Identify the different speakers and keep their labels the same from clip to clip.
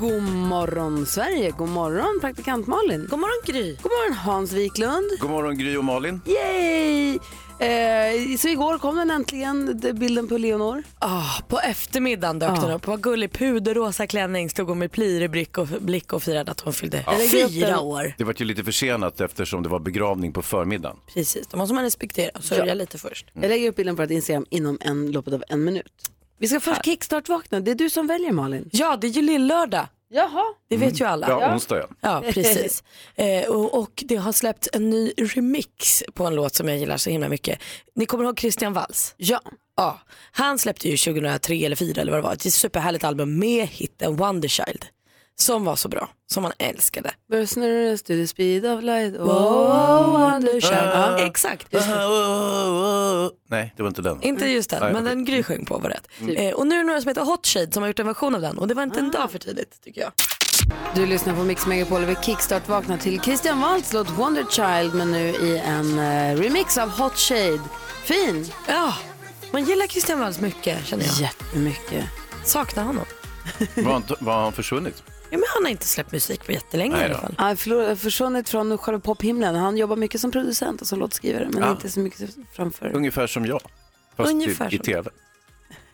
Speaker 1: God morgon Sverige, god morgon praktikant Malin. God morgon Gry. God morgon Hans Wiklund.
Speaker 2: God morgon Gry och Malin.
Speaker 1: Yay! Eh, så igår kom den äntligen, d- bilden på Leonor.
Speaker 3: Ah, på eftermiddagen dök den upp. Vad gullig puderrosa klänning stod hon med plirig blick och, blick och firade att hon fyllde
Speaker 2: Ja.
Speaker 3: fyra år.
Speaker 2: Det var ju lite försenat eftersom det var begravning på förmiddagen.
Speaker 3: Precis, de måste man respektera och sörja
Speaker 1: Ja.
Speaker 3: lite först.
Speaker 1: Jag lägger upp bilden på vårt Instagram inom en, loppet av en minut. Vi ska först kickstart-vakna. Det är du som väljer Malin.
Speaker 3: Ja, det är ju lill-lördag.
Speaker 1: Jaha.
Speaker 3: Det vet ju alla.
Speaker 2: Ja, onsdag ja.
Speaker 3: Ja, precis. Eh, och, och det har släppts en ny remix på en låt som jag gillar så himla mycket. Ni kommer ihåg Christian Walls?
Speaker 1: Ja.
Speaker 3: Ja, han släppte ju 2003 eller 2004 eller vad det var ett superhärligt album med hiten Wonderchild. Som var så bra, som man älskade.
Speaker 1: Business to the speed of light. Oh,
Speaker 3: Wonderchild.
Speaker 2: Ah. oh,
Speaker 3: Exakt.
Speaker 2: Nej, det var inte den.
Speaker 3: Inte just den,
Speaker 2: Nej,
Speaker 3: men
Speaker 2: okej.
Speaker 3: den Gry sjöng på var rätt. Eh, och nu är det några som heter Hot Shade som har gjort en version av den och det var inte en dag för tidigt tycker jag.
Speaker 1: Du lyssnar på Mix Megapol och vi kickstart vaknar till Christian Waltz låt Wonder Child men nu i en eh, remix av Hot Shade. Fin!
Speaker 3: Ja, man gillar Christian Walls mycket känner jag.
Speaker 1: Jättemycket.
Speaker 3: Saknar honom.
Speaker 2: Var han, var han försvunnit?
Speaker 3: Ja, men han har inte släppt musik på jättelänge
Speaker 2: Nej
Speaker 3: i alla
Speaker 2: då.
Speaker 3: fall.
Speaker 1: Han har förlor- försvunnit från själva pophimlen. Han jobbar mycket som producent och som låtskrivare men
Speaker 2: Ja.
Speaker 1: inte så mycket framför.
Speaker 2: Ungefär som jag. Fast
Speaker 3: Ungefär
Speaker 2: i, i
Speaker 3: som-
Speaker 2: tv.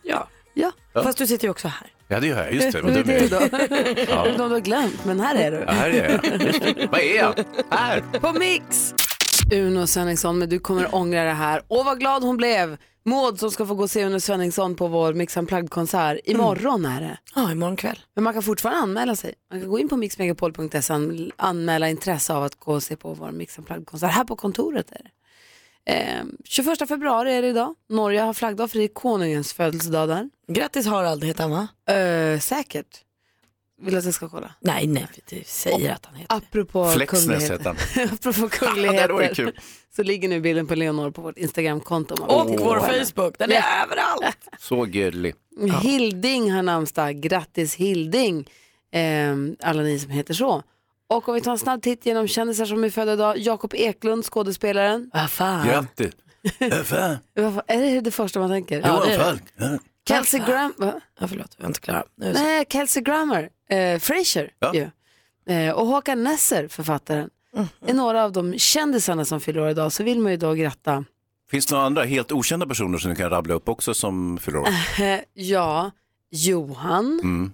Speaker 3: Ja.
Speaker 1: Ja,
Speaker 2: Ja.
Speaker 3: Fast du sitter ju också här.
Speaker 2: Ja, det gör jag. Just det. Vad
Speaker 1: det är
Speaker 2: dum jag
Speaker 1: det
Speaker 2: är.
Speaker 1: då.
Speaker 2: Mm. Ja.
Speaker 1: Någon du har glömt men här är du.
Speaker 2: Ja, här är jag. Just det. Vad är jag? Här!
Speaker 1: På Mix! Uno Svenningsson, men du kommer ångra det här. Åh vad glad hon blev! Maud som ska få gå och se Uno Svenningsson på vår Mix Unplugged-konsert. Imorgon
Speaker 2: Mm.
Speaker 1: är det.
Speaker 3: Ja, imorgon kväll.
Speaker 1: Men man kan fortfarande anmäla sig. Man kan gå in på mixmegapol.se och anmäla intresse av att gå och se på vår Mix Unplugged-konsert. Här på kontoret är det. Eh, 21 februari är det idag. Norge har flaggdag för det är konungens födelsedag där.
Speaker 3: Grattis Harald heter han va?
Speaker 1: Eh, säkert. Vill du att jag ska kolla?
Speaker 3: Nej, nej, vi säger att han heter det.
Speaker 1: Apropå
Speaker 2: Flexnäs hette
Speaker 1: kungligheter,
Speaker 2: han.
Speaker 1: apropå
Speaker 2: Ja, det var ju
Speaker 1: kungligheter
Speaker 2: kul.
Speaker 1: så ligger nu bilden på Leonor på vårt Instagramkonto. om man vill
Speaker 3: Och
Speaker 1: titta
Speaker 3: vår
Speaker 1: på henne.
Speaker 3: Facebook, den är överallt.
Speaker 2: Så gullig.
Speaker 1: Hilding har namnsdag. Grattis Hilding, eh, alla ni som heter så. Och om vi tar en snabb titt genom kändisar som är födda idag. Jakob Eklund, skådespelaren.
Speaker 3: Vad fan.
Speaker 2: Grattis. Ja, fan.
Speaker 1: Vad fan, Är det det första man tänker?
Speaker 3: Ja, det är
Speaker 2: Johan
Speaker 3: det.
Speaker 2: Falk. Ja.
Speaker 1: Kelsey, Gram- va?
Speaker 3: Ja, förlåt, jag är inte klar. Nu är det så.
Speaker 1: Nej, Kelsey Grammer, eh, Frasier
Speaker 2: Ja. Mhm.
Speaker 1: ju. Eh, och Håkan Nesser, författaren. är några av de kändisarna som fyller år idag. Så vill man ju då gratta.
Speaker 2: Finns det några andra helt okända personer som du kan rabbla upp också som fyller år?
Speaker 1: Eh, ja, Johan,
Speaker 2: Mm.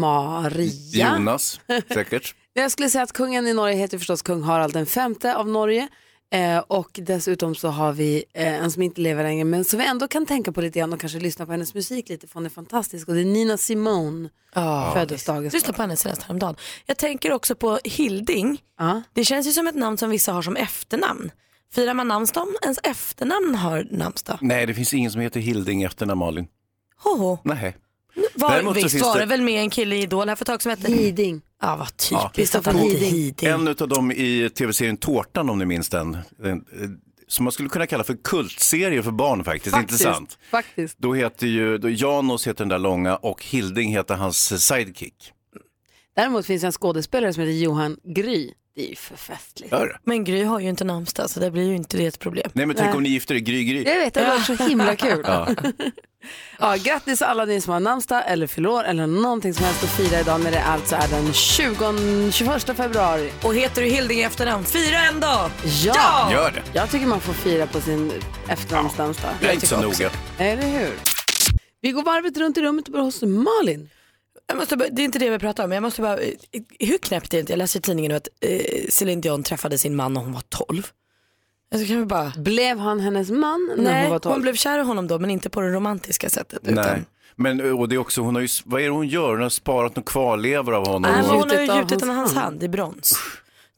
Speaker 1: Maria.
Speaker 2: Jonas, säkert.
Speaker 1: Jag skulle säga att kungen i Norge heter förstås kung Harald den femte av Norge. Eh, och dessutom så har vi eh, en som inte lever längre men som vi ändå kan tänka på lite grann och kanske lyssna på hennes musik lite för hon är fantastisk och det är Nina Simone
Speaker 3: Ja.
Speaker 1: födelsedag.
Speaker 3: Lyssna på henne senast häromdagen. Jag tänker också på Hilding.
Speaker 1: Ja.
Speaker 3: Det känns ju som ett namn som vissa har som efternamn. Firar man namnsdag om ens efternamn har namnsdag?
Speaker 2: Nej, det finns ingen som heter Hilding efter när Malin.
Speaker 3: Hoho.
Speaker 2: Nej.
Speaker 3: Var,
Speaker 2: Däremot så
Speaker 3: visst
Speaker 2: finns
Speaker 3: var det...
Speaker 2: det-
Speaker 3: väl med en kille i Idol här för ett tag som hette...
Speaker 1: Hiding.
Speaker 3: Ja, vad
Speaker 2: Ja.
Speaker 3: typiskt att han hette Hiding.
Speaker 2: En av dem i tv-serien Tårtan om ni minns den. Den, eh, Som man skulle kunna kalla för kultserie för barn faktiskt,
Speaker 1: Faktiskt.
Speaker 2: inte sant?
Speaker 1: Faktiskt.
Speaker 2: Då heter ju, då Janos heter den där långa och Hilding heter hans sidekick.
Speaker 1: Däremot finns det en skådespelare som heter Johan Gry. Det är ju för festligt.
Speaker 2: Hör.
Speaker 3: Men Gry har ju inte namnsdag så det blir ju inte det ett problem.
Speaker 2: Nej men tänk om ni gifter er, Gry Gry.
Speaker 1: Jag vet, det var så himla kul.
Speaker 2: Ja.
Speaker 1: Ja, grattis alla ni som har namnsdag eller förlor eller någonting som helst att fira idag när det alltså är den 20, 21 februari.
Speaker 3: Och heter du Hilding i efternamn, fira en dag!
Speaker 1: ja.
Speaker 2: Gör det.
Speaker 1: Jag tycker man får fira på sin efternamnsdansdag.
Speaker 2: Jag är inte så noga.
Speaker 1: Eller hur? Vi går varvet runt i rummet och börjar hos Malin.
Speaker 3: Jag måste bara, det är inte det vi pratar om, men jag måste bara, eh, hur knäppt är det inte? Jag läste i tidningen nu att eh, Céline Dion träffade sin man när hon var 12. Alltså kan vi bara,
Speaker 1: Blev han hennes man när
Speaker 3: nej,
Speaker 1: hon var
Speaker 3: hon,
Speaker 1: 12?
Speaker 3: blev kär i honom då men inte på det romantiska sättet.
Speaker 2: Nej. Men eh, och det är också, hon har ju, vad är det hon gör? Hon har sparat några kvarlevor av honom.
Speaker 3: Nej, Äh, men hon har ju
Speaker 1: Gjutet av
Speaker 3: gjutit den i
Speaker 1: hans
Speaker 3: hans hand i brons.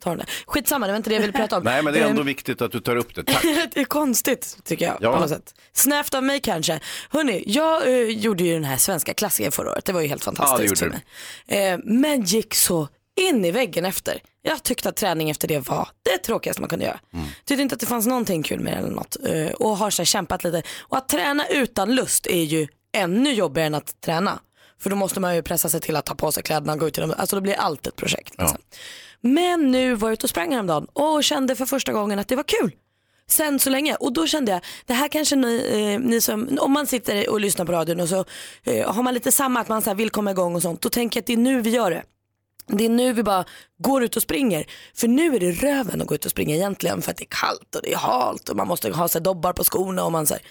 Speaker 3: Ta den där. Skitsamma, det var inte det jag ville prata om.
Speaker 2: Nej men det är ändå
Speaker 3: Ehm,
Speaker 2: viktigt att du tar upp det. Tack.
Speaker 3: det är konstigt tycker jag
Speaker 2: Ja.
Speaker 3: på något sätt. Snävt av mig kanske. Hörni, jag eh, gjorde ju den här svenska klassiken förra året. Det var ju helt fantastiskt
Speaker 2: Ja, det
Speaker 3: för
Speaker 2: gjorde
Speaker 3: mig. Eh, men gick så in i väggen efter. Jag tyckte att träning efter det var det tråkigaste man kunde göra.
Speaker 2: Mm.
Speaker 3: Tyckte inte att det fanns någonting kul med det eller något. Eh, och har så här kämpat lite. Och att träna utan lust är ju ännu jobbigare än att träna. För då måste man ju pressa sig till att ta på sig kläderna, gå ut i dem. Alltså det blir allt ett projekt. Liksom. Men nu var jag ute och sprang häromdagen och kände för första gången att det var kul. sen så länge. Och då kände jag, det här kanske ni, eh, ni som, om man sitter och lyssnar på radion och så eh, har man lite samma, att man så här vill komma igång och sånt, då tänker jag att det är nu vi gör det. Det är nu vi bara går ut och springer. För nu är det röven att gå ut och springa egentligen för att det är kallt och det är halt och man måste ha sig dobbar på skorna och man så här.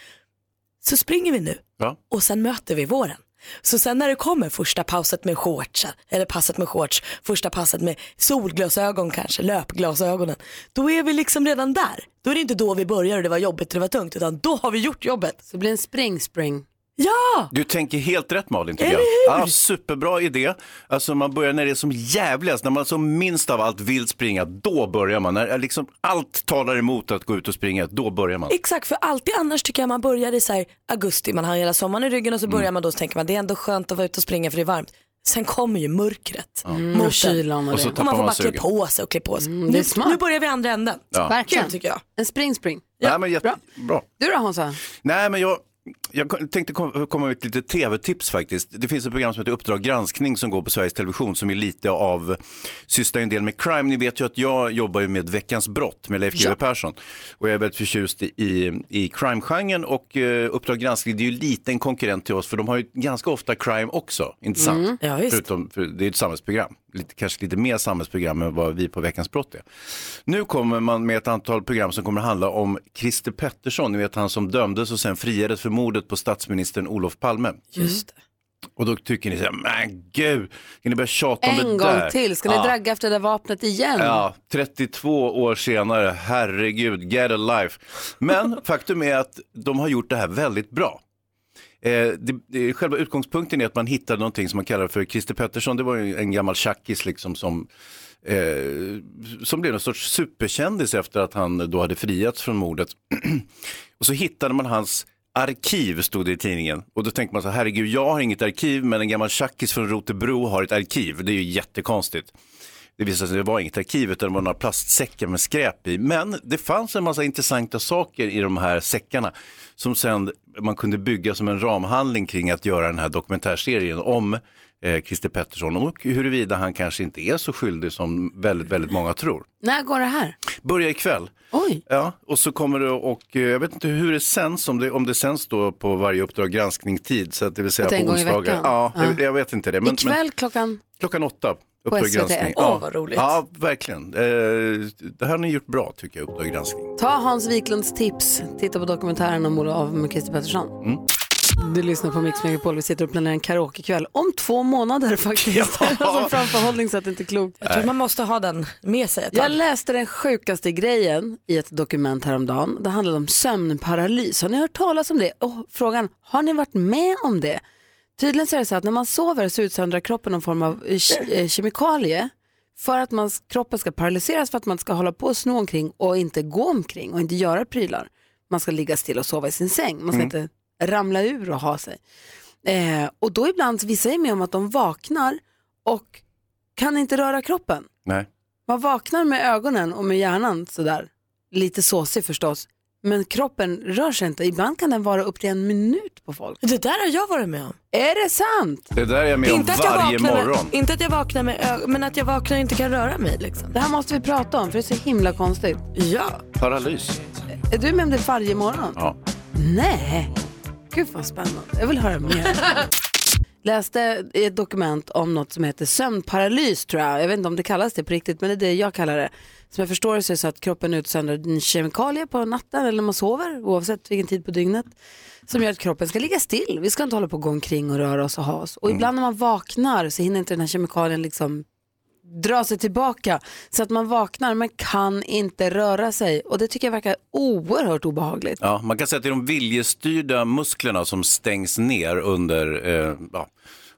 Speaker 3: Så springer vi nu
Speaker 2: Ja.
Speaker 3: och sen möter vi våren. Så sen när det kommer första pauset med shorts, eller passet med shorts, första passet med solglasögon kanske, löpglasögonen, då är vi liksom redan där. Då är det inte då vi börjar och det var jobbigt och det var tungt, utan då har vi gjort jobbet.
Speaker 1: Så det blir en spring-spring.
Speaker 3: Ja!
Speaker 2: Du tänker helt rätt Malin tycker
Speaker 3: Eller
Speaker 2: jag.
Speaker 3: hur?
Speaker 2: Ja, superbra idé. Alltså man börjar när det är som jävligast, när man som minst av allt vill springa, då börjar man. När liksom allt talar emot att gå ut och springa, då börjar man.
Speaker 3: Exakt, för alltid annars tycker jag man börjar i så här augusti, man har hela sommaren i ryggen och
Speaker 2: Mm.
Speaker 3: så börjar man då så tänker man det är ändå skönt att vara ute och springa för det är varmt. Sen kommer ju mörkret. Mm.
Speaker 1: Och kylan och
Speaker 2: Och så
Speaker 1: det. Mm,
Speaker 2: tappar
Speaker 3: Och man får
Speaker 2: man
Speaker 3: bara klä
Speaker 2: sugen.
Speaker 3: på sig och klä på sig.
Speaker 1: det är
Speaker 3: nu,
Speaker 1: smart.
Speaker 3: nu börjar vi andra änden.
Speaker 2: Ja.
Speaker 1: Verkligen.
Speaker 3: Kul tycker jag.
Speaker 1: En spring-spring.
Speaker 2: Nej, men jätte... bra.
Speaker 1: Du då Hansa?
Speaker 2: Nej, men jag, jag tänkte kom- komma med ett litet tv-tips faktiskt. Det finns ett program som heter Uppdrag granskning som går på Sveriges Television som är lite av, sysslar ju en del med crime. Ni vet ju att jag jobbar ju med Veckans brott med Leif GW Persson och jag är väldigt förtjust i, i crime-genren och eh, Uppdrag granskning det är ju lite en konkurrent till oss för de har ju ganska ofta crime också, inte sant?
Speaker 3: Ja, visst.
Speaker 2: Förutom, för det är ett samhällsprogram, lite, kanske lite mer samhällsprogram än vad vi på Veckans brott är. Nu kommer man med ett antal program som kommer att handla om Christer Pettersson, ni vet han som dömdes och sen friades för mordet på statsministern Olof Palme.
Speaker 3: Just det.
Speaker 2: Och då tycker ni så här, men gud, kan ni börja tjata om
Speaker 1: En gång
Speaker 2: det där?
Speaker 1: till, ska ni
Speaker 2: ja.
Speaker 1: dragga efter det där vapnet igen?
Speaker 2: Ja, 32 år senare, herregud, get a life. Men faktum är att de har gjort det här väldigt bra. Eh, det, det, själva utgångspunkten är att man hittade någonting som man kallar för Christer Pettersson, det var ju en gammal tjackis liksom som, eh, som blev någon sorts superkändis efter att han då hade friats från mordet. Och så hittade man hans arkiv, stod det i tidningen. Och då tänkte man så här, herregud, jag har inget arkiv, men en gammal tjackis från Rotebro har ett arkiv. Det är ju jättekonstigt. Det visade sig att det var inget arkiv utan det var några plastsäckar med skräp i. Men det fanns en massa intressanta saker i de här säckarna som sen man kunde bygga som en ramhandling kring att göra den här dokumentärserien om eh, Christer Pettersson och huruvida han kanske inte är så skyldig som väldigt, väldigt många tror.
Speaker 1: När går det här?
Speaker 2: Börja ikväll.
Speaker 1: Oj,
Speaker 2: Ja, och så kommer det och eh, jag vet inte hur det sänds, om det, om det sänds då på varje Uppdrag granskning-tid, så att det vill säga
Speaker 1: Att det är en
Speaker 2: på
Speaker 1: gång i
Speaker 2: onsdagar.
Speaker 1: veckan?
Speaker 2: Ja,
Speaker 1: Ja.
Speaker 2: Jag, jag vet inte det. Men, men
Speaker 1: ikväll klockan?
Speaker 2: klockan åtta, Uppdrag
Speaker 1: SVT.
Speaker 2: granskning.
Speaker 3: Åh,
Speaker 2: ja.
Speaker 3: vad roligt.
Speaker 2: Ja, verkligen. Eh, det här har ni gjort bra tycker jag, Uppdrag granskning.
Speaker 1: Ta Hans Wiklunds tips, titta på dokumentären om Olof av Christer Pettersson.
Speaker 2: Mm.
Speaker 1: Du lyssnar på Mix Megapol, vi sitter och planerar en karaokekväll om två månader faktiskt.
Speaker 2: Ja.
Speaker 1: Som framförhållning så att det inte är klokt.
Speaker 3: Jag tror man måste ha den med sig ett
Speaker 1: Jag
Speaker 3: tag.
Speaker 1: läste den sjukaste grejen i ett dokument häromdagen. Det handlade om sömnparalys. Har ni hört talas om det? Och frågan, har ni varit med om det? Tydligen så är det så att när man sover så utsöndrar kroppen någon form av eh, ke- eh, kemikalie för att man, kroppen ska paralyseras för att man ska hålla på och sno omkring och inte gå omkring och inte göra prylar. Man ska ligga still och sova i sin säng. Man ska inte ramla ur och ha sig. Eh, och då ibland, vissa är med om att de vaknar och kan inte röra kroppen.
Speaker 2: Nej.
Speaker 1: Man vaknar med ögonen och med hjärnan sådär, lite såsig förstås, men kroppen rör sig inte. Ibland kan den vara upp till en minut på folk.
Speaker 3: Det där har jag varit med om.
Speaker 1: Är det sant?
Speaker 2: Det där är jag med om
Speaker 3: Inte att, jag
Speaker 2: varje
Speaker 3: vaknar
Speaker 2: morgon.
Speaker 3: med, inte att jag vaknar med ög- men att jag vaknar och inte kan röra mig liksom.
Speaker 1: Det här måste vi prata om för det är så himla konstigt.
Speaker 3: Ja.
Speaker 2: Paralys.
Speaker 1: Är du med om det varje morgon?
Speaker 2: Ja.
Speaker 1: Nej. Gud vad spännande. Jag vill höra mer. Läste i ett dokument om något som heter sömnparalys tror jag. Jag vet inte om det kallas det på riktigt men det är det jag kallar det. Som jag förstår det så är det så att kroppen utsöndrar en kemikalie på natten eller när man sover oavsett vilken tid på dygnet. Som gör att kroppen ska ligga still. Vi ska inte hålla på att gå omkring och röra oss och ha oss. Och ibland när man vaknar så hinner inte den här kemikalien liksom dra sig tillbaka så att man vaknar men kan inte röra sig och det tycker jag verkar oerhört obehagligt.
Speaker 2: Ja, man kan säga att det är de viljestyrda musklerna som stängs ner under, eh, ja.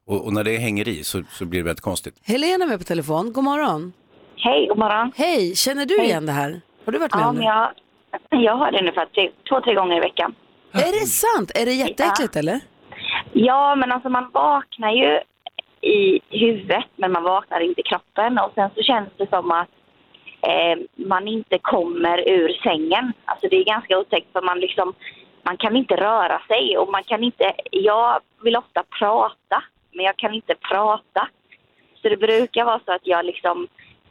Speaker 2: och, och när det hänger i så, så blir det väldigt konstigt.
Speaker 1: Helena är med på telefon. God morgon.
Speaker 4: Hej, god morgon.
Speaker 1: Hej, känner du igen det här? Har du varit med
Speaker 4: Ja,
Speaker 1: om det?
Speaker 4: men jag, jag har det ungefär tre, två, tre gånger i veckan.
Speaker 1: Är det sant? Är det jätteäckligt eller?
Speaker 4: Ja, men alltså man vaknar ju i huvudet, men man vaknar inte i kroppen. Och sen så känns det som att eh, man inte kommer ur sängen. Alltså det är ganska otäckt för man liksom, man kan inte röra sig och man kan inte, jag vill ofta prata, men jag kan inte prata. Så det brukar vara så att jag liksom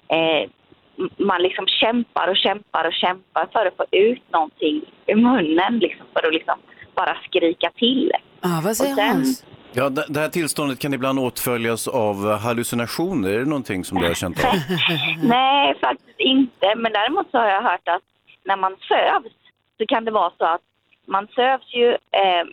Speaker 4: eh, m- man liksom kämpar och kämpar och kämpar för att få ut någonting ur munnen liksom, för att liksom bara skrika till.
Speaker 1: Ah, vad säger
Speaker 4: Och sen-
Speaker 1: Hans?
Speaker 2: Ja, det det här tillståndet kan ibland åtföljas av hallucinationer. Är det någonting som du har känt av?
Speaker 1: Mm.
Speaker 4: Nej, faktiskt inte. Men däremot så har jag hört att när man sövs så kan det vara så att man sövs ju eh,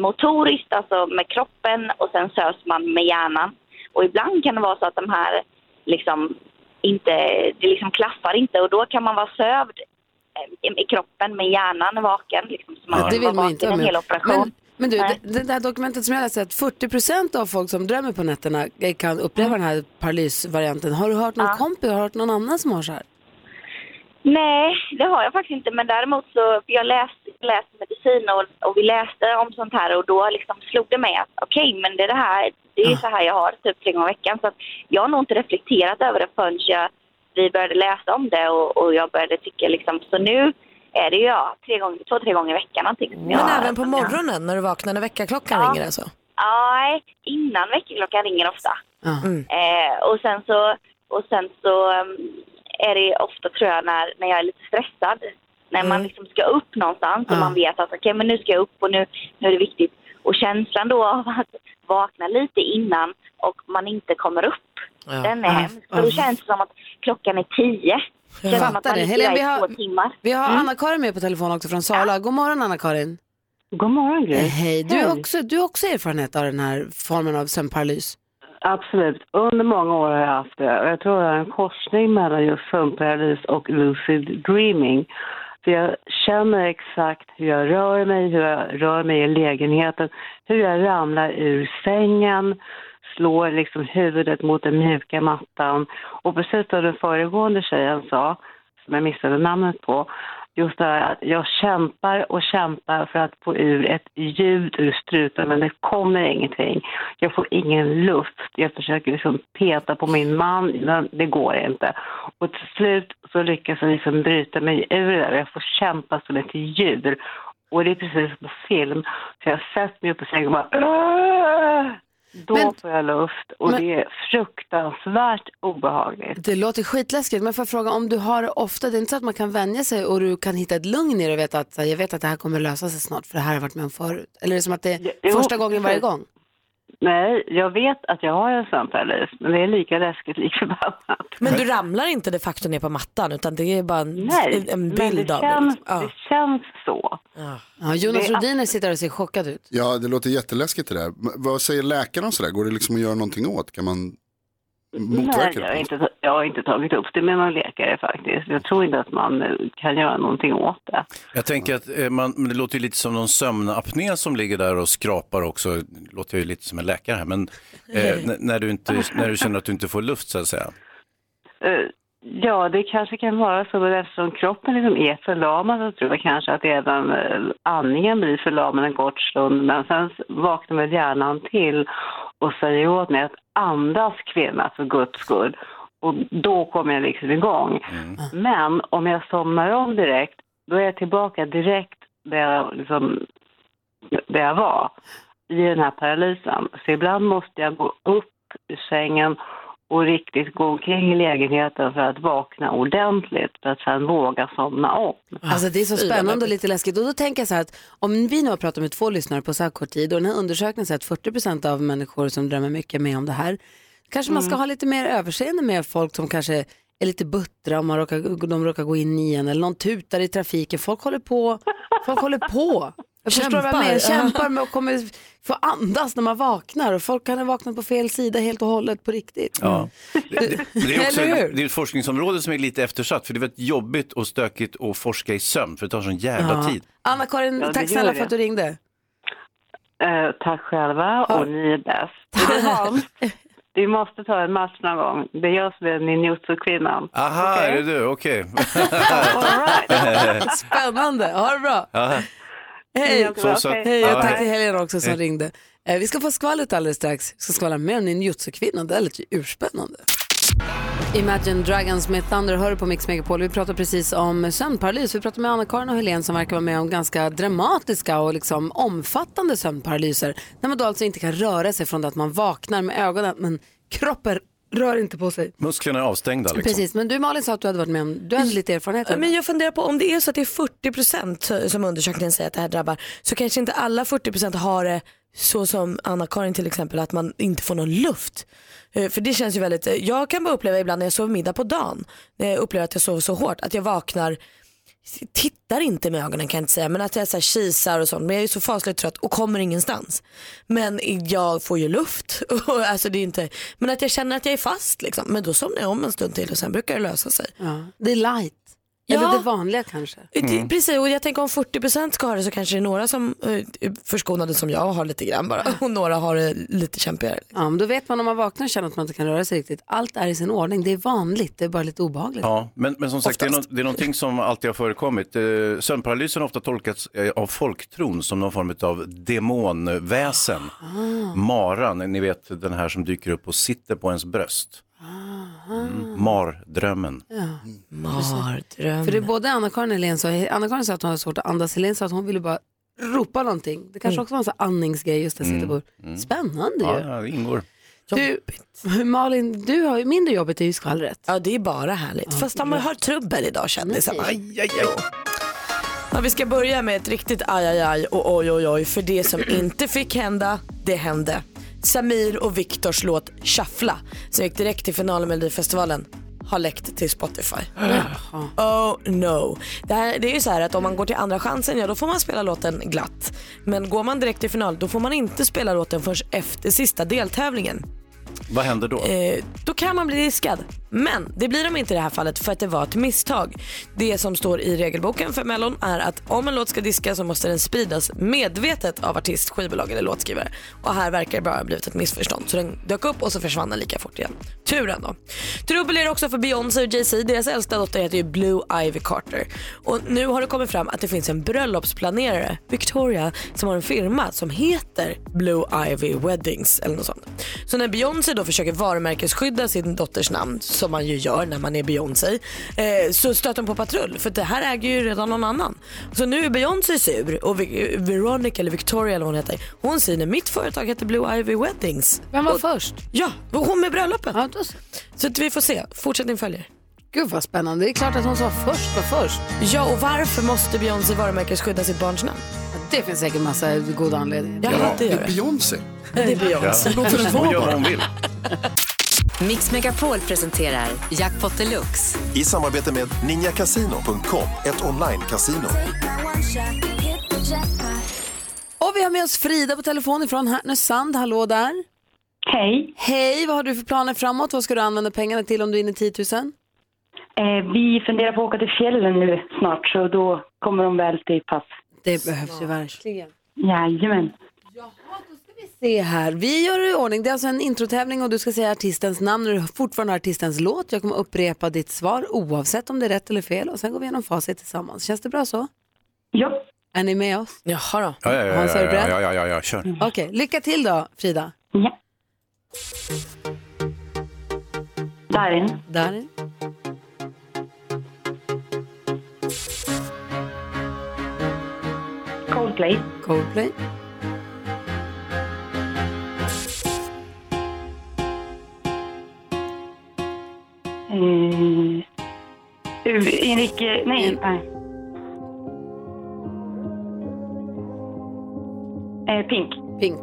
Speaker 4: motoriskt, alltså med kroppen och sen sövs man med hjärnan. Och ibland kan det vara så att de här liksom inte, det liksom klaffar inte och då kan man vara sövd eh, i- i kroppen men hjärnan är vaken. Liksom, så man
Speaker 2: Ja,
Speaker 1: Det
Speaker 4: kan
Speaker 1: vill
Speaker 4: vara
Speaker 1: man
Speaker 4: vaken
Speaker 1: inte ha
Speaker 4: en hel
Speaker 1: med
Speaker 4: operation.
Speaker 1: men, men du, det,
Speaker 4: Nej.
Speaker 1: det här dokumentet som jag läste, att 40 av folk som drömmer på nätterna eh, kan uppleva den här paralysvarianten. Har du hört någon
Speaker 4: Mm. Ja.
Speaker 1: kompis, har du hört någon annan som har så här?
Speaker 4: Nej, det har jag faktiskt inte. Men däremot så, för jag läste, läste medicin och, och vi läste om sånt här och då liksom slog det mig att okej, men det är det här, det är
Speaker 1: Ah.
Speaker 4: så här jag har typ tre gånger i veckan. Så att jag har nog inte reflekterat över det förrän jag, vi började läsa om det och, och jag började tycka liksom, så nu är det ju ja, tre gånger, två, tre gånger i veckan någonting. som
Speaker 3: Men
Speaker 4: jag-
Speaker 3: även på
Speaker 4: som jag-
Speaker 3: morgonen när du vaknar när väckarklockan
Speaker 4: Ja.
Speaker 3: ringer alltså?
Speaker 4: Nej, innan väckarklockan ringer ofta.
Speaker 1: Ja.
Speaker 4: Eh, och sen så, och sen så um, är det ofta tror jag när, när jag är lite stressad. När man liksom ska upp någonstans och
Speaker 1: Mm. Ja.
Speaker 4: man vet att okej men nu ska jag upp och nu, nu är det viktigt. Och känslan då av att vakna lite innan och man inte kommer upp. Den är
Speaker 1: Ja.
Speaker 4: hemsk. För
Speaker 1: Ja.
Speaker 4: då känns det som att klockan är tio. Det Känns som att
Speaker 1: Fattar
Speaker 4: man
Speaker 1: det. Helene,
Speaker 4: ligger där
Speaker 1: vi
Speaker 4: i
Speaker 1: har-
Speaker 4: två timmar.
Speaker 1: Vi har Anna-Karin med på telefon också från Sala. God morgon Anna-Karin.
Speaker 5: God morgon, Gry.
Speaker 1: Hej, du har också, du har också erfarenhet av den här formen av sömnparalys.
Speaker 5: Absolut. Under många år har jag haft det. Och jag tror jag har en korsning mellan just sömnparalys och lucid dreaming. För jag känner exakt hur jag rör mig, hur jag rör mig i lägenheten, hur jag ramlar ur sängen, slår liksom huvudet mot den mjuka mattan. Och precis som den föregående tjejen sa, som jag missade namnet på, just det här att jag kämpar och kämpar för att få ur ett ljud ur strupen men det kommer ingenting. Jag får ingen luft. Jag försöker liksom peta på min man, men det går inte. Och till slut så lyckas jag liksom bryta mig ur det där och jag får kämpa som ett djur. Och det är precis som på film. Så jag sätter mig upp på sängen och bara "Åh!" Då
Speaker 1: Men-
Speaker 5: får jag luft och
Speaker 1: men-
Speaker 5: det är fruktansvärt obehagligt.
Speaker 1: Det låter skitläskigt, men får jag fråga om du har det ofta? Det är inte så att man kan vänja sig och du kan hitta ett lugn i det och veta att så här, jag vet att det här kommer lösa sig snart för det här har jag varit med om förut. Eller är det som att det är
Speaker 5: Jo,
Speaker 1: första gången varje
Speaker 5: precis.
Speaker 1: gång?
Speaker 5: Nej, jag vet att jag har en sömnparalys, men det är lika läskigt, lik förbannat.
Speaker 3: Men du ramlar inte de facto ner på mattan utan det är bara en,
Speaker 5: Nej,
Speaker 3: en
Speaker 5: men
Speaker 3: bild
Speaker 5: det
Speaker 3: av det.
Speaker 5: känns,
Speaker 3: liksom. Ja.
Speaker 5: det känns så.
Speaker 3: Ja.
Speaker 1: Ja, Jonas
Speaker 5: Det är
Speaker 1: Rhodiner sitter och ser chockad ut.
Speaker 6: Ja, det låter jätteläskigt det där. Men Vad säger läkarna om sådär? Går det liksom att göra någonting åt? Kan man
Speaker 5: Nej,
Speaker 6: motverka
Speaker 5: jag, har
Speaker 6: det?
Speaker 5: inte, jag har inte tagit upp det med någon läkare faktiskt. Jag tror inte att man eh, kan göra någonting åt det.
Speaker 2: Jag tänker att eh, man, men det låter ju lite som någon sömnapné som ligger där och skrapar också. Det låter ju lite som en läkare här, men eh, n- när, du inte, när du känner att du inte får luft så att säga.
Speaker 5: Eh, Ja, det kanske kan vara så, men eftersom kroppen liksom är förlamad så tror jag kanske att även eh, andningen blir förlamad en kort stund. Men sen s- vaknar väl hjärnan till och säger åt mig att andas kvinna för guds skull. Och då kommer jag liksom igång.
Speaker 2: Mm.
Speaker 5: Men om jag somnar om direkt, då är jag tillbaka direkt där jag, liksom, där jag var i den här paralysen. Så ibland måste jag gå upp ur sängen och riktigt gå omkring i lägenheten för att vakna ordentligt för att sen våga somna om.
Speaker 1: Alltså det är så
Speaker 3: fy, vad
Speaker 1: spännande och
Speaker 3: läbbigt.
Speaker 1: lite läskigt. Och då tänker jag så här att om vi nu har pratat med två lyssnare på så här kort tid och den här undersökningen säger att 40 av människor som drömmer mycket med om det här, kanske man
Speaker 5: Mm.
Speaker 1: ska ha lite mer överseende med folk som kanske är lite buttra om man råkar, de råkar gå in i en eller någon tutar i trafiken. Folk håller på. Folk håller på. Jag förstår vad jag menar.
Speaker 3: Kämpar.
Speaker 1: Kämpar med och kommer få andas när man vaknar och folk kan ha vaknat på fel sida helt och hållet på riktigt.
Speaker 2: Ja. Det, det, men det är också
Speaker 1: Eller hur?
Speaker 2: det är ett forskningsområde som är lite eftersatt, för det är väldigt jobbigt och stökigt att forska i sömn, för det tar sån jävla tid.
Speaker 1: Anna-Karin,
Speaker 5: Ja, det
Speaker 1: tack
Speaker 5: gör
Speaker 1: snälla
Speaker 5: det.
Speaker 1: för att du ringde.
Speaker 5: Eh, tack själva och ni är bäst. Men Hans, Vi måste ta en match någon gång. Det är jag som är ninjutsu-kvinnan.
Speaker 2: Aha, är det du? Okej.
Speaker 5: All right.
Speaker 1: Spännande, ha det bra.
Speaker 2: Ja.
Speaker 1: Hej.
Speaker 2: Så, så,
Speaker 5: Okej.
Speaker 1: Hej,
Speaker 2: ja,
Speaker 1: jag
Speaker 2: hej.
Speaker 1: tackar till Helena också som
Speaker 2: Hej.
Speaker 1: ringde. Eh, vi ska få skvallret alldeles strax. Vi ska skvallra mer om ninjutsu-kvinnan. Det här lät ju urspännande. Imagine Dragons med Thunder hör du på Mix Megapol. Vi pratar precis om sömnparalys. Vi pratar med Anna-Karin och Helene som verkar vara med om ganska dramatiska och liksom omfattande sömnparalyser. När man då alltså inte kan röra sig från det att man vaknar med ögonen men kroppen rör inte på sig.
Speaker 2: Musklerna är avstängda liksom.
Speaker 1: Precis, men du Malin sa att du hade varit med om, du hade lite erfarenhet av
Speaker 3: Men jag funderar på om det är så att det är 40% som undersökningen säger att det här drabbar så kanske inte alla 40% har det så som Anna-Karin till exempel att man inte får någon luft. Eh, För det känns ju väldigt, eh, jag kan bara uppleva ibland när jag sover middag på dagen, när jag upplever att jag sover så hårt att jag vaknar, tittar inte med ögonen kan jag inte säga men att jag så här kisar och sånt men jag är så fasligt trött och kommer ingenstans. Men jag får ju luft, och, alltså det är inte, men att jag känner att jag är fast liksom. Men då somnar jag om en stund till och sen brukar det lösa sig.
Speaker 1: Ja. Det är light.
Speaker 3: Ja.
Speaker 1: Eller det vanliga kanske.
Speaker 3: Eh, Det- Precis, och jag tänker om 40% ska ha det så kanske det är några som eh, förskonade som jag har lite grann bara och några har det lite kämpigare.
Speaker 1: Ja, men då vet man om man vaknar och känner att man inte kan röra sig riktigt. Allt är i sin ordning, det är vanligt, det är bara lite obehagligt.
Speaker 2: Ja, men, men som sagt, det är, något, det är någonting som alltid har förekommit. Eh, Sömnparalysen har ofta tolkats eh, av folktron som någon form av demonväsen.
Speaker 3: Ah.
Speaker 2: Maran, ni vet den här som dyker upp och sitter på ens bröst. Mm. Mardrömmen.
Speaker 3: Mardröm.
Speaker 1: För det är både Anna-Karin och Helene sa, Anna-Karin sa att hon hade svårt att andas, Helene sa att hon ville bara ropa någonting. Det kanske också var en sån här andningsgrej just där sitter på. Spännande
Speaker 2: Mm. Ja,
Speaker 1: ju.
Speaker 2: ja, det ingår.
Speaker 1: Du, Malin, du har ju mindre jobbet är ju skvallret.
Speaker 3: Ja det är bara härligt. Fast de har trubbel idag kändisarna.
Speaker 2: Aj, aj, aj.
Speaker 3: Ja, vi ska börja med ett riktigt aj, aj, aj och oj, oj, oj. För det som inte fick hända, det hände. Samir och Viktors låt Shuffla, som gick direkt till finalen i Melodifestivalen, har läckt till Spotify.
Speaker 2: Äh.
Speaker 3: Oh no. Det, här, det är ju så här att om man går till andra chansen, ja då får man spela låten glatt. Men går man direkt till final, då får man inte spela låten förrän efter sista deltävlingen.
Speaker 2: Vad händer då?
Speaker 3: Eh, då kan man bli diskad. Men det blir de inte i det här fallet för att det var ett misstag. Det som står i regelboken för Mellon är att om en låt ska diskas så måste den spridas medvetet av artist, skivbolag eller låtskrivare. Och här verkar det bara ha blivit ett missförstånd. Så den dök upp och så försvann den lika fort igen. Tur ändå. Trubbel är det också för Beyoncé och Jay-Z. Deras äldsta dotter heter ju Blue Ivy Carter. Och nu har det kommit fram att det finns en bröllopsplanerare, Victoria, som har en firma som heter Blue Ivy Weddings eller något sånt. Så när Beyoncé då försöker varumärkesskydda sin dotters namn, som man ju gör när man är Beyoncé, eh, så stöter hon på patrull för det här äger ju redan någon annan. Så nu är Beyoncé sur och Vi- Veronica eller Victoria eller vad hon heter, hon säger när mitt företag heter Blue Ivy Weddings.
Speaker 1: Vem var först?
Speaker 3: Ja, och hon med bröllopen.
Speaker 1: Ja, då, så.
Speaker 3: Så att vi får se, fortsättning följer.
Speaker 1: gud vad spännande. Det är klart att hon som var först var först.
Speaker 3: Ja, och varför måste Beyoncé varumärkesskydda sitt barns namn?
Speaker 1: Ja, Det finns säkert massa goda anledningar.
Speaker 3: Ja, det
Speaker 6: det
Speaker 3: gör
Speaker 6: är
Speaker 3: det.
Speaker 6: Beyoncé.
Speaker 3: Det är Beyoncé.
Speaker 2: Ja. Hon gör vad hon vill.
Speaker 7: Mix Megapol presenterar Jackpot Deluxe.
Speaker 8: I samarbete med ninjakasino.com, ett online-casino.
Speaker 1: Och vi har med oss Frida på telefon ifrån Härnösand. Hallå där.
Speaker 4: Hej.
Speaker 1: Hej, vad har du för planer framåt? Vad ska du använda pengarna till om du är inne i 10 000?
Speaker 5: Eh, vi funderar på att åka till fjällen nu snart, så då kommer de väl till pass.
Speaker 1: Det behövs ju verkligen.
Speaker 5: Jajamän.
Speaker 1: Se här, vi gör det i ordning. Det är alltså en introtävling och du ska säga artistens namn och du fortfarande har artistens låt. Jag kommer upprepa ditt svar oavsett om det är rätt eller fel och sen går vi igenom facit tillsammans. Känns det bra så?
Speaker 5: Ja,
Speaker 1: Är ni med oss?
Speaker 3: Jaha då.
Speaker 2: Ja, ja, ja,
Speaker 1: Hans, är
Speaker 2: ja,
Speaker 1: du
Speaker 2: ja,
Speaker 1: beredd?
Speaker 2: ja, ja, ja, ja, kör.
Speaker 1: Okej, lycka till då Frida.
Speaker 5: ja. Darin,
Speaker 1: Där.
Speaker 5: Coldplay,
Speaker 1: Coldplay.
Speaker 5: eh, Enrique, nej, nej. Eh, Pink,
Speaker 1: Pink.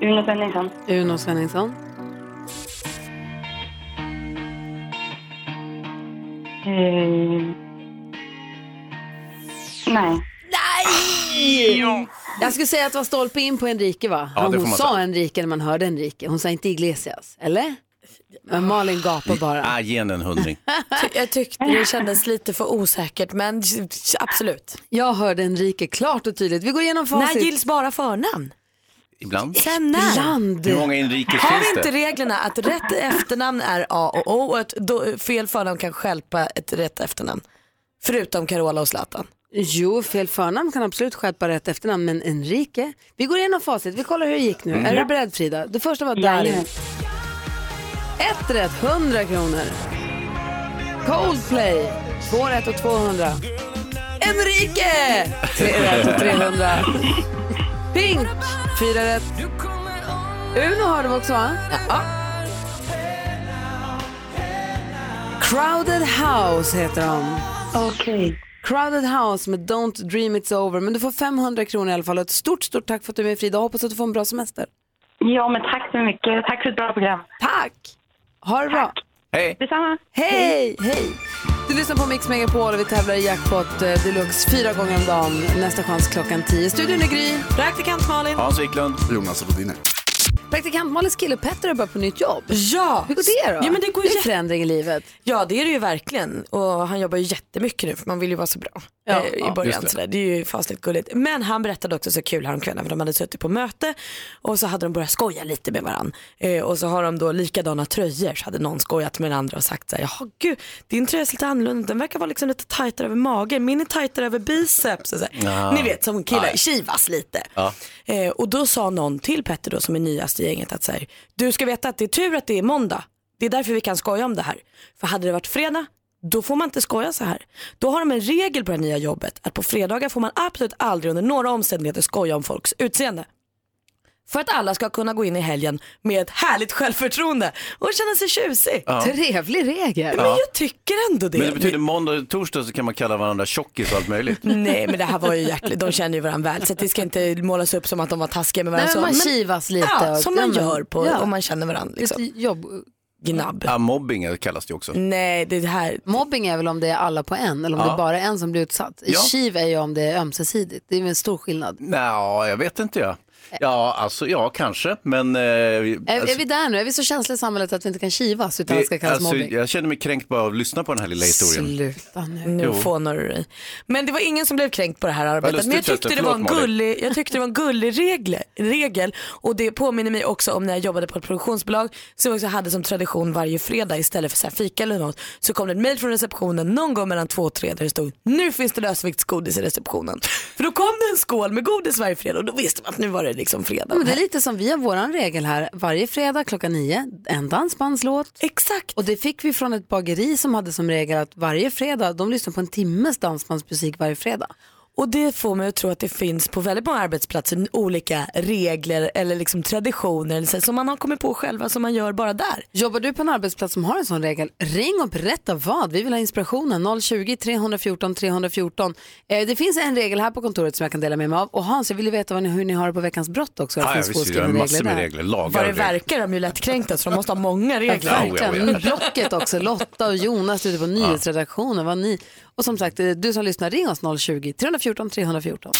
Speaker 5: Uno Svenningsson,
Speaker 1: Uno Svenningsson.
Speaker 5: eh, nej.
Speaker 1: Jag skulle säga att det var stolpe in på Enrique va?
Speaker 2: Ja, det får
Speaker 1: Hon
Speaker 2: man
Speaker 1: sa
Speaker 2: säga.
Speaker 1: Enrique när man hörde Enrique. Hon sa inte Iglesias, eller? Men Malin gapar bara.
Speaker 2: Ah, ge henne en hundring.
Speaker 3: Jag tyckte det kändes lite för osäkert men absolut.
Speaker 1: Jag hörde Enrique klart och tydligt. Vi går igenom facit.
Speaker 3: När gills bara förnamn?
Speaker 2: Ibland.
Speaker 3: Sen när?
Speaker 1: Land.
Speaker 2: Hur många inrikes
Speaker 3: Har vi
Speaker 2: finns
Speaker 3: inte
Speaker 2: det?
Speaker 3: reglerna att rätt efternamn är A och O och ett do- fel förnamn kan stjälpa ett rätt efternamn? Förutom Carola och Zlatan.
Speaker 1: Jo, fel förnamn kan absolut skärpa rätt efternamn, men Enrique. Vi går igenom facit, vi kollar hur det gick nu. Är du beredd Frida? Det första var Darin.
Speaker 5: Jajamän.
Speaker 1: Ett rätt, 100 kronor. Coldplay, två rätt och 200. Enrique! Tre rätt och 300. Pink, fyra rätt. Uno hörde vi också va? Ja. Crowded House heter de.
Speaker 5: Okej.
Speaker 1: Crowded House med Don't Dream It's Over. Men du får 500 kronor i alla fall och ett stort, stort tack för att du är med Frida. Hoppas att du får en bra semester.
Speaker 4: Ja, men tack så mycket. Tack för ett bra program.
Speaker 1: Tack! Ha det bra.
Speaker 2: Hej!
Speaker 4: Detsamma.
Speaker 1: Hej, hej! Du lyssnar på Mix Megapol och vi tävlar i jackpot eh, deluxe fyra gånger om dagen. Nästa chans klockan 10. Studion är Gry.
Speaker 3: Praktikant Malin.
Speaker 2: Hans Wiklund.
Speaker 6: Jonas Rodine.
Speaker 1: Praktikant Malins kille Petter har börjat på nytt jobb.
Speaker 3: Ja.
Speaker 1: Hur går det då?
Speaker 3: Ja, men det går
Speaker 1: det är
Speaker 3: jätte-
Speaker 1: en förändring i livet.
Speaker 3: Ja det är det ju verkligen och han jobbar ju jättemycket nu för man vill ju vara så bra
Speaker 1: Ja,
Speaker 3: eh, i
Speaker 1: ja,
Speaker 3: början.
Speaker 2: just
Speaker 3: Det.
Speaker 2: det.
Speaker 3: Så det är ju fasligt gulligt. Men han berättade också så kul häromkvällen för de hade suttit på möte och så hade de börjat skoja lite med varandra. Eh, och så har de då likadana tröjor så hade någon skojat med den andra och sagt så här, jaha gud din tröja ser lite annorlunda ut. den verkar vara liksom lite tajtare över magen, min är tajtare över biceps. Och så här. Ni vet som killar kivas lite. Eh, och då sa någon till Petter då som är nyast i gänget att så här, du ska veta att det är tur att det är måndag. Det är därför vi kan skoja om det här. För hade det varit fredag, då får man inte skoja så här. Då har de en regel på det här nya jobbet att på fredagar får man absolut aldrig under några omständigheter skoja om folks utseende. För att alla ska kunna gå in i helgen med ett härligt självförtroende och känna sig tjusig.
Speaker 1: Trevlig regel.
Speaker 3: Men jag tycker ändå det.
Speaker 2: Men det betyder måndag och torsdag så kan man kalla varandra tjockis och allt möjligt.
Speaker 3: Nej men det här var ju hjärtligt, de känner ju varandra väl så att det ska inte målas upp som att de var taskiga med
Speaker 1: Nej, Alltså,
Speaker 3: varandra.
Speaker 1: men man
Speaker 3: så, men,
Speaker 1: kivas lite.
Speaker 3: ja,
Speaker 1: och-
Speaker 3: som man
Speaker 1: men-
Speaker 3: gör på,
Speaker 1: ja.
Speaker 3: om man känner varandra. Liksom.
Speaker 1: Lite jobb.
Speaker 3: Gnabb.
Speaker 2: Ah, mobbing kallas det också.
Speaker 3: Nej det här,
Speaker 1: Mobbing är väl om det är alla på en eller om det bara är en som blir utsatt.
Speaker 2: Ja.
Speaker 1: Kiv är ju om det är ömsesidigt. Det är väl en stor skillnad.
Speaker 2: Nej, jag vet inte jag. Ja, alltså ja, kanske, men... Eh,
Speaker 1: Är,
Speaker 2: alltså,
Speaker 1: är vi där nu? Är vi så känsliga i samhället att vi inte kan kivas utan det, ska kallas
Speaker 2: alltså,
Speaker 1: mobbing?
Speaker 2: jag känner mig kränkt bara av att lyssna på den här lilla historien.
Speaker 1: Sluta nu.
Speaker 3: nu
Speaker 2: Jo.
Speaker 3: fånar du dig. Men det var ingen som blev kränkt på det här arbetet. Men jag
Speaker 2: lustigt,
Speaker 3: tyckte, det var en
Speaker 2: förlåt, Malin.
Speaker 3: gullig, jag tyckte det var en gullig regel, regel och det påminner mig också om när jag jobbade på ett produktionsbolag som också hade som tradition varje fredag istället för så här fika eller något så kom det ett mejl från receptionen någon gång mellan två och tre där det stod nu finns det lösviktsgodis i receptionen. För då kom det en skål med godis varje fredag och då visste man att nu var det liksom fredag.
Speaker 1: Ja, Men det är lite som vi har våran regel här. Varje fredag klockan nio, en dansbandslåt.
Speaker 3: Exakt.
Speaker 1: Och det fick vi från ett bageri som hade som regel att varje fredag, de lyssnar på en timmes dansbandsmusik varje fredag.
Speaker 3: Och det får mig att tro att det finns på väldigt många arbetsplatser olika regler eller liksom traditioner eller så, här, som man har kommit på själva som man gör bara där.
Speaker 1: Jobbar du på en arbetsplats som har en sån regel, ring och berätta vad. Vi vill ha inspirationen. 020-314 314. Eh, det finns en regel här på kontoret som jag kan dela med mig av. Och Hans, jag vill ju veta vad ni, hur ni har det på veckans brott också. Det
Speaker 2: Ah, ja,
Speaker 1: finns
Speaker 2: visst, jag har
Speaker 1: påskrivna
Speaker 2: massor med
Speaker 1: där.
Speaker 2: regler, lagar
Speaker 3: Vad det
Speaker 2: och regler.
Speaker 3: verkar är de ju lättkränkta så de måste ha många regler.
Speaker 2: Ja,
Speaker 1: Verkligen.
Speaker 2: ja, ja.
Speaker 1: Men Blocket också. Lotta och Jonas ute på nyhetsredaktionen. Vad ni... Och som sagt, eh, du som lyssnar, ring oss 020-314 314.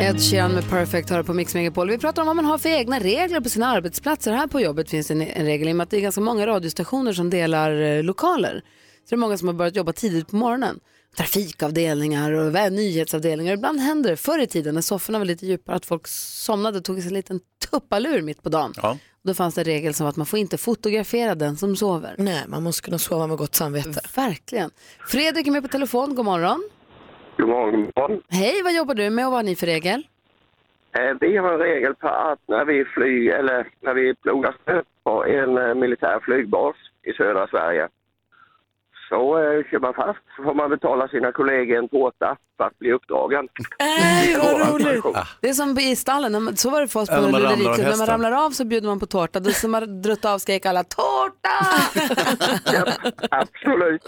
Speaker 1: Ed Sheeran med Perfect har det på Mix Megapol. Vi pratar om vad man har för egna regler på sina arbetsplatser. Här på jobbet finns det en, en regel i och med att det är ganska många radiostationer som delar eh, lokaler. Så det är många som har börjat jobba tidigt på morgonen. Trafikavdelningar och vä- nyhetsavdelningar. Ibland händer det förr i tiden när sofforna var lite djupare att folk somnade och tog sig en liten tuppalur mitt på dagen.
Speaker 2: Ja.
Speaker 1: Då fanns det en regel som att man får inte fotografera den som sover.
Speaker 3: Nej, man måste kunna sova med gott samvete.
Speaker 1: Verkligen. Fredrik är med på telefon, god morgon.
Speaker 9: God morgon, god morgon.
Speaker 1: Hej, vad jobbar du med och vad har ni för regel?
Speaker 9: Eh, Vi har en regel på att när vi flyg, eller när vi plogar snö på en eh, militär flygbas i södra Sverige så eh, kör man fast så får man betala sina kollegor en tårta för att bli uppdragen.
Speaker 3: Nej, Äh, vad roligt.
Speaker 1: Det är som i stallen, när man- så var det för oss på
Speaker 2: Ja, när man ramlar av
Speaker 1: Lureriklubben. När man
Speaker 2: hästen.
Speaker 1: ramlar av så bjuder man på tårta. Då som man drött av skrek alla tårta!
Speaker 9: Absolut.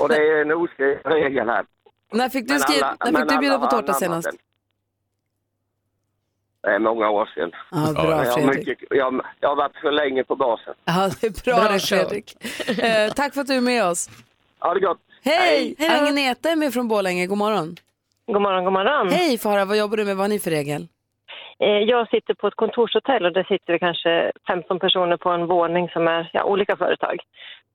Speaker 9: Och det är en oskriven regel här.
Speaker 1: när fick du,
Speaker 9: Men
Speaker 1: skri...
Speaker 9: alla-
Speaker 1: när
Speaker 9: men
Speaker 1: fick du bjuda
Speaker 9: alla
Speaker 1: på
Speaker 9: har
Speaker 1: tårta
Speaker 9: anammat
Speaker 1: senast?
Speaker 9: den. Det är många år sedan.
Speaker 1: Ja,
Speaker 2: Ja,
Speaker 1: bra
Speaker 9: Jag har,
Speaker 1: Fredrik.
Speaker 9: mycket, jag, jag har varit för länge på basen.
Speaker 1: Ja, det är bra,
Speaker 3: Bra
Speaker 1: det
Speaker 3: kört.
Speaker 1: Fredrik. Eh, tack för att du är med oss.
Speaker 9: Ha det gott!
Speaker 1: Hej!
Speaker 3: Hej.
Speaker 1: Agneta är med från Borlänge, god morgon.
Speaker 10: God morgon, god morgon.
Speaker 5: Mm.
Speaker 1: Hej Farah, vad jobbar du med, vad har ni för regel?
Speaker 10: Eh, Jag sitter på ett kontorshotell och där sitter det kanske 15 personer på en våning som är ja, olika företag.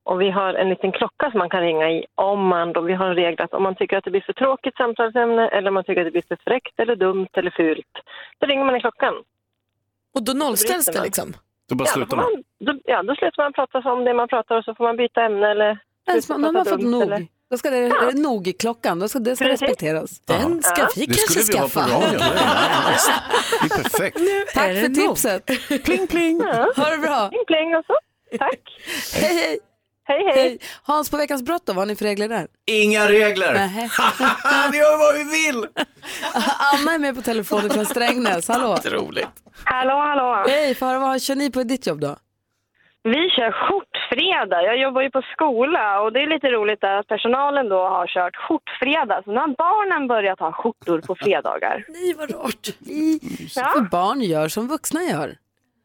Speaker 10: Och vi har en liten klocka som man kan ringa i om man då, vi har en regel att om man tycker att det blir för tråkigt samtalsämne eller om man tycker att det blir för fräckt eller dumt eller fult, då ringer man i klockan.
Speaker 3: Och då nollställs det liksom.
Speaker 2: Då bara
Speaker 10: Ja, då,
Speaker 2: slutar
Speaker 10: får
Speaker 2: man.
Speaker 10: man, då, ja, då slutar man prata om det man pratar och så får man byta ämne eller...
Speaker 1: Ens, man,
Speaker 10: sluta
Speaker 1: när man har
Speaker 10: prata
Speaker 1: fått
Speaker 10: dumt
Speaker 1: nog,
Speaker 10: eller-
Speaker 1: då ska det, är det nog i klockan, då ska det ska
Speaker 10: Precis.
Speaker 1: respekteras.
Speaker 3: Den ska
Speaker 10: Ja.
Speaker 3: vi
Speaker 2: Det
Speaker 3: kanske
Speaker 2: skulle vi ha på
Speaker 3: skaffa.
Speaker 2: radion. Det är nice. Det är perfekt.
Speaker 1: Tack
Speaker 3: det
Speaker 1: för
Speaker 3: nog?
Speaker 1: tipset. Pling pling. Ha det bra.
Speaker 10: Pling, pling och så. Tack.
Speaker 1: Hej, hej,
Speaker 10: Hej, hej.
Speaker 1: hej. Hans, på veckans brott då, vad har ni för regler där?
Speaker 2: Inga regler!
Speaker 1: Nähä.
Speaker 2: vi gör vad vi vill!
Speaker 1: Anna är med på telefonen från Strängnäs. Hallå.
Speaker 11: Roligt.
Speaker 1: Hallå, hallå. Hej, för vad kör ni på i ditt jobb då?
Speaker 11: Vi kör skjortfredag. Jag jobbar ju på skola och det är lite roligt att personalen då har kört skjortfredag. Så nu har barnen börjat ha skjortor på fredagar.
Speaker 1: Nej, vad rart. För barn gör som vuxna gör.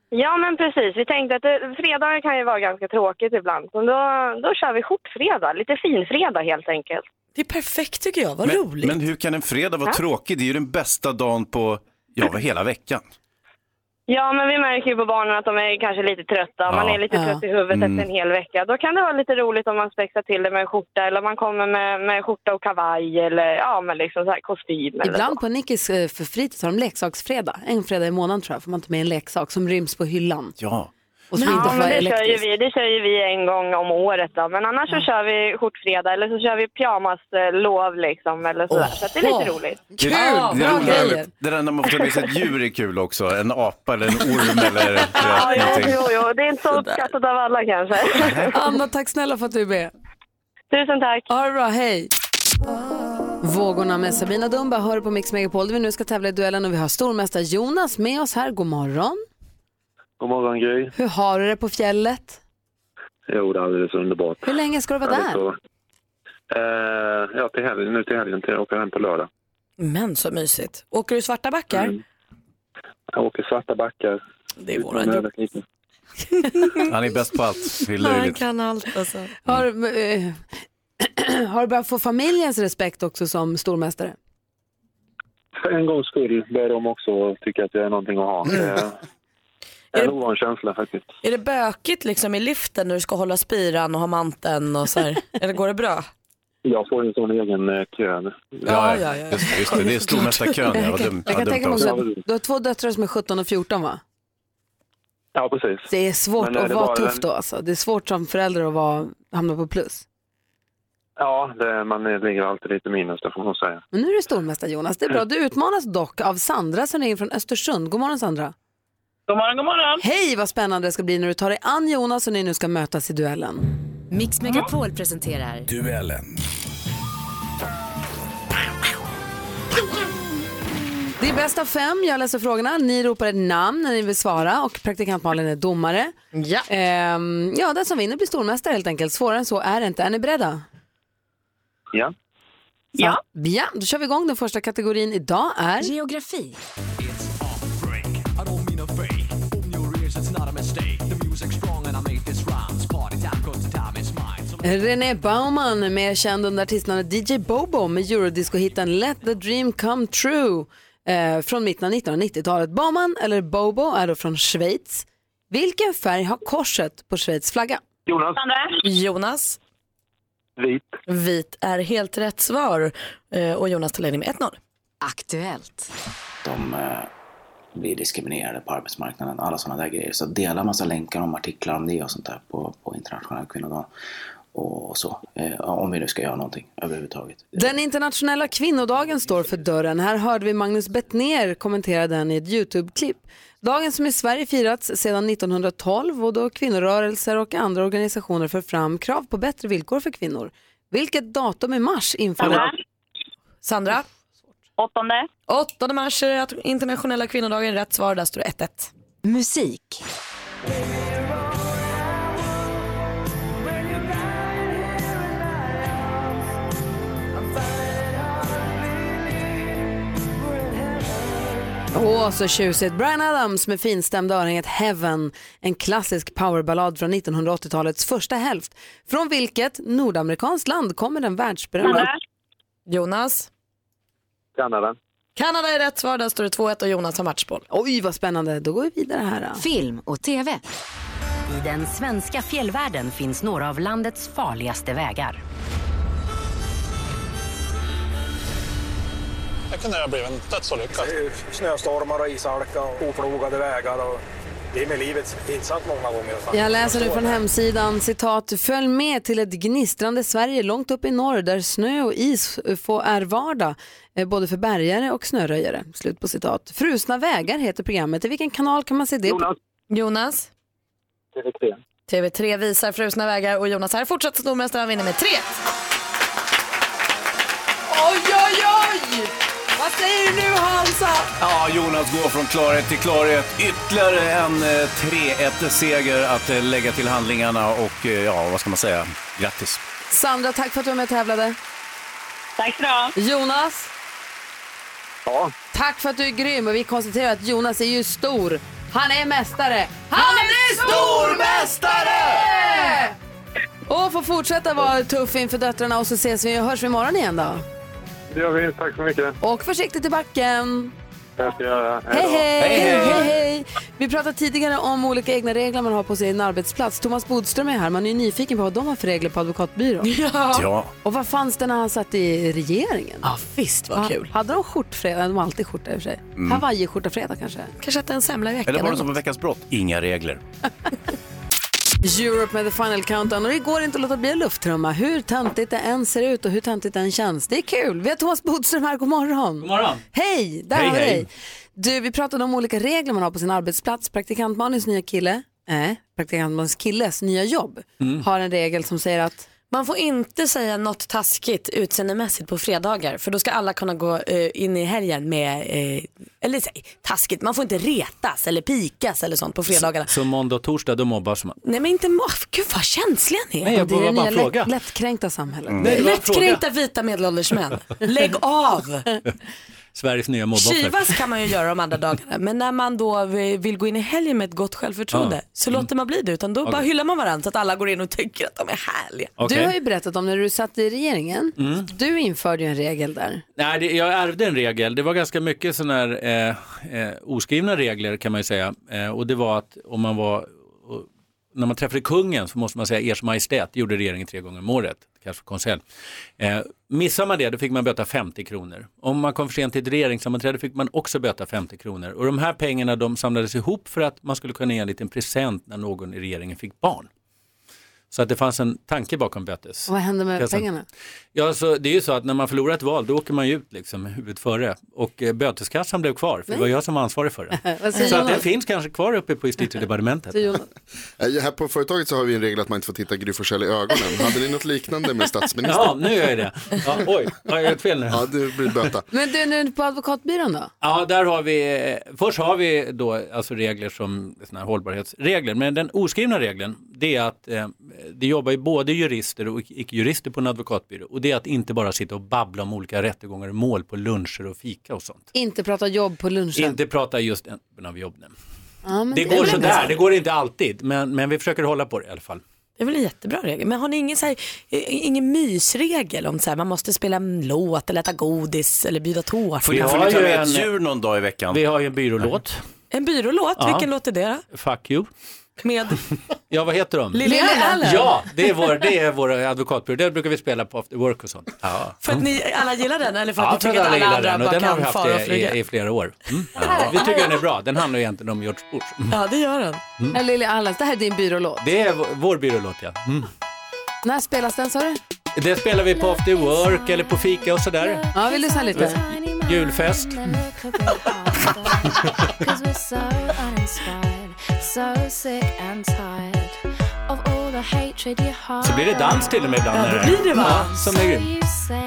Speaker 11: Ja, men precis. Vi tänkte att det, fredagar kan ju vara ganska tråkigt ibland. Så då, då kör vi skjortfredag, lite finfredag helt enkelt.
Speaker 3: Det är perfekt tycker jag, vad
Speaker 2: men,
Speaker 3: roligt.
Speaker 2: Men hur kan en fredag vara
Speaker 11: Ja.
Speaker 2: tråkig? Det är ju den bästa dagen på ja, hela veckan.
Speaker 11: Ja, men vi märker ju på barnen att de är kanske lite trötta. Om man
Speaker 2: Ja.
Speaker 11: är lite
Speaker 2: Ja.
Speaker 11: trött i huvudet
Speaker 2: Mm.
Speaker 11: efter en hel vecka. Då kan det vara lite roligt om man spexar till det med en skjorta eller om man kommer med, med skjorta och kavaj eller ja, men liksom så här kostym. Eller så.
Speaker 1: Ibland på Nickis eh, för fritids har de leksaksfredag. En fredag i månaden tror jag får man ta med en leksak som ryms på hyllan.
Speaker 2: Ja.
Speaker 1: Och som inte
Speaker 11: ja,
Speaker 1: får
Speaker 11: men
Speaker 1: vara
Speaker 11: det kör, ju
Speaker 1: elektrisk.
Speaker 11: vi, det kör ju vi en gång om året då. Men annars så kör vi skjortfredag eller så kör vi pyjamaslov liksom eller så. så att det är lite roligt.
Speaker 2: Det- det, det, där, det där när man får ta med sig ett djur är kul också. En apa eller en orm eller
Speaker 11: Ja, jo,
Speaker 2: någonting.
Speaker 11: jo, jo, det är inte så uppskattat av alla kanske.
Speaker 1: Anna, tack snälla för att du är med.
Speaker 11: Tusen tack.
Speaker 1: Ha det bra, hej. Vågorna med Sabina Dumba hör du på Mix Megapol där vi nu ska tävla i duellen och vi har stormästare Jonas med oss här. God morgon.
Speaker 12: God morgon Gry.
Speaker 1: Hur har du det på fjället?
Speaker 12: Jo, det är alldeles underbart.
Speaker 1: Hur länge ska du vara
Speaker 12: Härligt
Speaker 1: där?
Speaker 12: att- Eh, ja, till helgen, nu till helgen. Till, jag åker hem på lördag.
Speaker 3: Men så mysigt. Åker du svarta backar?
Speaker 12: Jag åker svarta backar. Det är
Speaker 3: våran jobb.
Speaker 2: Han är bäst på allt. Det är
Speaker 3: Han
Speaker 2: löjligt.
Speaker 3: kan allt alltså.
Speaker 1: Har, eh, har du börjat få familjens respekt också som stormästare?
Speaker 12: För en gångs skull börjar de också tycka att jag är någonting att
Speaker 1: Mm.
Speaker 12: ha. Det är en ovan känsla faktiskt.
Speaker 3: Är det bökigt liksom i liften när du ska hålla spiran och ha manteln och så här? Eller går det bra?
Speaker 12: Jag får en sån egen eh, kö nu.
Speaker 3: Ja, ja, ja.
Speaker 2: Just, just det, det är stormästarkön. Ja,
Speaker 1: Jag
Speaker 2: vad dumt.
Speaker 1: kan, jag kan
Speaker 2: Ja,
Speaker 1: tänka mig också,
Speaker 2: dumt av oss.
Speaker 1: att du har två döttrar som är 17 och 14 va?
Speaker 12: Ja, precis.
Speaker 1: Det är svårt
Speaker 12: Men är
Speaker 1: att
Speaker 12: det
Speaker 1: vara
Speaker 12: bara
Speaker 1: tuff
Speaker 12: den-
Speaker 1: då alltså. Det är svårt som förälder att vara, hamna på plus.
Speaker 12: Ja, det, man ligger alltid lite minus, det får man säga.
Speaker 1: Men nu är det stormästare Jonas, det är bra. Du utmanas dock av Sandra som ringer från Östersund. God morgon Sandra.
Speaker 13: God morgon, god morgon.
Speaker 1: Hej vad spännande det ska bli när du tar dig an Jonas och ni nu ska mötas i duellen.
Speaker 7: Mix Megapol presenterar
Speaker 14: Duellen.
Speaker 1: Det är bäst av fem, jag läser frågorna. Ni ropar ett namn när ni vill svara och praktikant Malin är domare.
Speaker 3: Ja.
Speaker 1: Ehm, ja, den som vinner blir stormästare helt enkelt. Svårare än så är det inte. Är ni beredda?
Speaker 12: Ja.
Speaker 1: Ja. Ja, då kör vi igång. Den första kategorin idag är...
Speaker 7: Geografi.
Speaker 1: René Baumann, mer känd under artistnamnet DJ Bobo med eurodisco-hitten Let the Dream Come True eh, från mitten av 1990-talet. Baumann, eller Bobo, är då från Schweiz. Vilken färg har korset på Schweiz flagga?
Speaker 12: Jonas.
Speaker 3: Jonas.
Speaker 12: Vit.
Speaker 3: Vit är helt rätt svar. Eh, Och Jonas tar ledning med 1-0.
Speaker 7: Aktuellt.
Speaker 15: De eh, blir diskriminerade på arbetsmarknaden, alla sådana där grejer. Så dela massa länkar om artiklar om det och sånt där på, på internationella kvinnodagen. Och så, eh, om vi nu ska göra någonting överhuvudtaget.
Speaker 1: Den internationella kvinnodagen står för dörren. Här hörde vi Magnus Bettner kommentera den i ett YouTube-klipp. Dagen som i Sverige firats sedan 1912 och då kvinnorörelser och andra organisationer för fram krav på bättre villkor för kvinnor. Vilket datum i mars infaller?
Speaker 3: Sandra.
Speaker 13: Åttonde.
Speaker 3: Åttonde mars är det att- internationella kvinnodagen. Rätt svar, där står det 1-1.
Speaker 7: Musik.
Speaker 1: Åh, så tjusigt. Bryan Adams med finstämda örhänget Heaven. En klassisk powerballad från 1980-talets första hälft. Från vilket nordamerikanskt land kommer den världsberömda...
Speaker 3: Jonas.
Speaker 12: Kanada.
Speaker 3: Kanada är rätt svar, där står det 2-1 och Jonas har matchboll.
Speaker 1: Oj, vad spännande. Då går vi vidare här.
Speaker 7: Film och tv. I den svenska fjällvärlden finns några av landets farligaste vägar.
Speaker 16: Det kunde ha blivit en dödsolycka. Snöstormar och ishalka och oplogade vägar. Och det är med livet pinsamt många gånger.
Speaker 1: Jag läser nu från hemsidan, citat, följ med till ett gnistrande Sverige långt upp i norr där snö och is får är vardag, eh, både för bärgare och snöröjare. Slut på citat. Frusna vägar heter programmet. I vilken kanal kan man se det? Jonas.
Speaker 3: Jonas. TV3 visar Frusna vägar och Jonas här fortsatt stormästare. Han vinner med 3
Speaker 1: Oj, oj, oj! Vad säger du nu
Speaker 2: Ja, Jonas går från klarhet till klarhet. Ytterligare en eh, 3-1-seger att eh, lägga till handlingarna och eh, ja, vad ska man säga? Grattis!
Speaker 1: Sandra, tack för att du var med och tävlade. Tack så du Jonas,
Speaker 12: Ja,
Speaker 1: tack för att du är grym. Och vi konstaterar att Jonas är ju stor. Han är mästare. Han är stormästare! Och får fortsätta vara tuff inför döttrarna och så ses vi och hörs vi imorgon igen då.
Speaker 12: det gör vi. Tack så mycket.
Speaker 1: Och försiktigt i backen.
Speaker 12: Det ska jag göra.
Speaker 1: Hej
Speaker 12: då.
Speaker 1: hej! hej, hej. Vi pratade tidigare om olika egna regler man har på sin arbetsplats. Thomas Bodström är här. Man är ju nyfiken på vad de har för regler på advokatbyrån.
Speaker 3: Ja.
Speaker 2: Ja.
Speaker 1: Och vad fanns det när han satt i regeringen?
Speaker 3: Ja, visst vad
Speaker 1: Ja,
Speaker 3: kul.
Speaker 1: Hade de skjortfredag? De har alltid skjorta i och för sig.
Speaker 2: Mm.
Speaker 1: Hawaii-skjortafredag kanske?
Speaker 3: Kanske att en semla i veckan.
Speaker 2: Eller var det som på Veckans brott? Inga regler.
Speaker 1: Europe med the final countdown och det går inte att låta bli en lufttrumma. Hur töntigt det än ser ut och hur töntigt det än känns. Det är kul. Vi har Thomas Bodström här, god morgon. God
Speaker 14: morgon.
Speaker 1: Hej, där
Speaker 14: Hej,
Speaker 1: har vi
Speaker 14: hej.
Speaker 1: dig. Du, vi pratade om olika regler man har på sin arbetsplats. Praktikant Malins nya kille, nej, praktikant Malins killes nya jobb
Speaker 14: Mm.
Speaker 1: har en regel som säger att
Speaker 3: Man får inte säga något taskigt utseendemässigt på fredagar för då ska alla kunna gå eh, in i helgen med, eh, eller säg, taskigt, man får inte retas eller pikas eller sånt på fredagarna.
Speaker 14: Så måndag och torsdag då mobbar man.
Speaker 3: Nej men inte, mo- gud vad känsliga ni är.
Speaker 14: Nej, jag
Speaker 1: det är
Speaker 14: bara-
Speaker 1: det
Speaker 14: bara
Speaker 1: nya
Speaker 14: fråga.
Speaker 1: lätt, lättkränkta samhället.
Speaker 14: Mm. Nej, det var en fråga.
Speaker 3: Lättkränkta vita medelålders män. Lägg av!
Speaker 14: Sveriges nya mobboffer.
Speaker 3: Kivas kan man ju göra de andra dagarna men när man då vi- vill gå in i helgen med ett gott självförtroende
Speaker 14: Ja. Mm.
Speaker 3: så låter man bli det utan då bara
Speaker 14: Okej.
Speaker 3: hyllar man varandra så att alla går in och tycker att de är härliga.
Speaker 14: Okej.
Speaker 1: Du har ju berättat om när du satt i regeringen.
Speaker 14: Mm.
Speaker 1: Du införde ju en regel där.
Speaker 14: Nej, det, jag ärvde en regel. Det var ganska mycket sådana här eh, eh, oskrivna regler kan man ju säga. Eh, och det var att om man var, och, när man träffade kungen så måste man säga ers majestät, det gjorde regeringen tre gånger om året, kanske konselj. Eh, missar man det då fick man böta 50 kronor. Om man kom för sent till ett regeringssammanträde fick man också böta 50 kronor. Och de här pengarna de samlades ihop för att man skulle kunna ge en liten present när någon i regeringen fick barn. Så att det fanns en tanke bakom bötes.
Speaker 1: Vad hände med
Speaker 14: Kassan.
Speaker 1: pengarna?
Speaker 14: Ja, så det är ju så att när man förlorar ett val då åker man ju ut liksom huvudet före och eh, böteskassan blev kvar för det var jag som var ansvarig för den.
Speaker 1: Vad säger
Speaker 14: så att den
Speaker 1: Jonas?
Speaker 14: finns kanske kvar uppe på justitiedepartementet.
Speaker 6: Eh, Här på företaget så har vi en regel att man inte får titta Gry Forssell i ögonen. Hade ni något liknande med statsministern?
Speaker 14: Ja, nu gör jag det. Ja, oj, har jag gjort fel nu?
Speaker 6: Ja, det blir böta.
Speaker 1: Men du, nu på advokatbyrån då?
Speaker 14: Ja, där har vi, eh, först har vi då alltså regler som såna här hållbarhetsregler, men den oskrivna regeln det är att eh, det jobbar ju både jurister och icke-jurister på en advokatbyrå och det är att inte bara sitta och babbla om olika rättegångar och mål på luncher och fika och sånt.
Speaker 1: Inte prata jobb på lunchen?
Speaker 14: Inte prata just en typen av jobb. nu.
Speaker 1: Ja, men
Speaker 14: Det går
Speaker 1: är väl
Speaker 14: sådär,
Speaker 1: bra.
Speaker 14: det går inte alltid, men, men vi försöker hålla på det i alla fall.
Speaker 3: Det är väl en jättebra regel. Men har ni ingen, så här, eh, ingen mysregel om så här, man måste spela en låt eller äta godis eller bjuda tårta?
Speaker 2: Får ni, får ni ta med ett djur någon dag i veckan?
Speaker 14: Vi har ju en byrålåt.
Speaker 3: En byrålåt,
Speaker 14: Ja.
Speaker 3: vilken låt är det då?
Speaker 14: Fuck you.
Speaker 3: Med?
Speaker 14: Ja, vad heter de?
Speaker 3: Lily Allen.
Speaker 14: Ja, det är vår, det är vår advokatbyrå. Det brukar vi spela på after work och sånt. Ja.
Speaker 3: För att ni alla gillar den eller för
Speaker 14: Ja,
Speaker 3: att
Speaker 14: för
Speaker 3: ni
Speaker 14: att
Speaker 3: tycker att
Speaker 14: alla
Speaker 3: alla
Speaker 14: gillar
Speaker 3: andra
Speaker 14: den och
Speaker 3: bara
Speaker 14: den har
Speaker 3: kan
Speaker 14: vi haft
Speaker 3: fara och
Speaker 14: i,
Speaker 3: flyga?
Speaker 14: i, i flera år. Mm. Ja. Vi tycker den är bra, den handlar ju egentligen om George Bush. Mm.
Speaker 3: Ja, det gör den.
Speaker 14: Mm.
Speaker 1: Ja, Lily Allen, det här är din byrålåt.
Speaker 14: Det är vår- vår byrålåt ja. Mm.
Speaker 1: När spelas den sa du?
Speaker 14: Det spelar vi på after work eller på fika och sådär.
Speaker 1: Ja, vi lyssnar lite.
Speaker 14: Julfest.
Speaker 17: Cause we're so uninspired, so sick and tired of all the hatred you hide.
Speaker 14: Så blir det dans till och med ibland.
Speaker 17: Ja,
Speaker 14: när
Speaker 17: det blir det, va?
Speaker 14: Ja, som är
Speaker 17: So
Speaker 14: grym.
Speaker 17: you say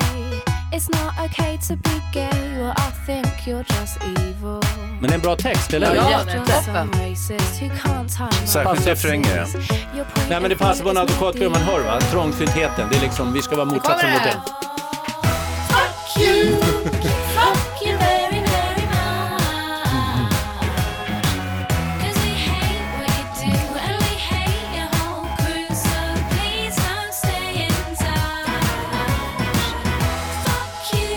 Speaker 17: it's not okay to be gay, well I think you're just evil.
Speaker 14: Men det är en bra text, eller?
Speaker 17: You're just some racist who can't hide
Speaker 14: Särskilt refränger.
Speaker 17: your
Speaker 14: Nej men det passar på en advokatbyrå man hör va? Trångsyntheten, det är liksom, vi ska vara motsatsen mot det.
Speaker 17: Fuck you, fuck you very, very much. Cause we hate what you do and we hate your whole crew. So please don't stay in touch. Fuck you,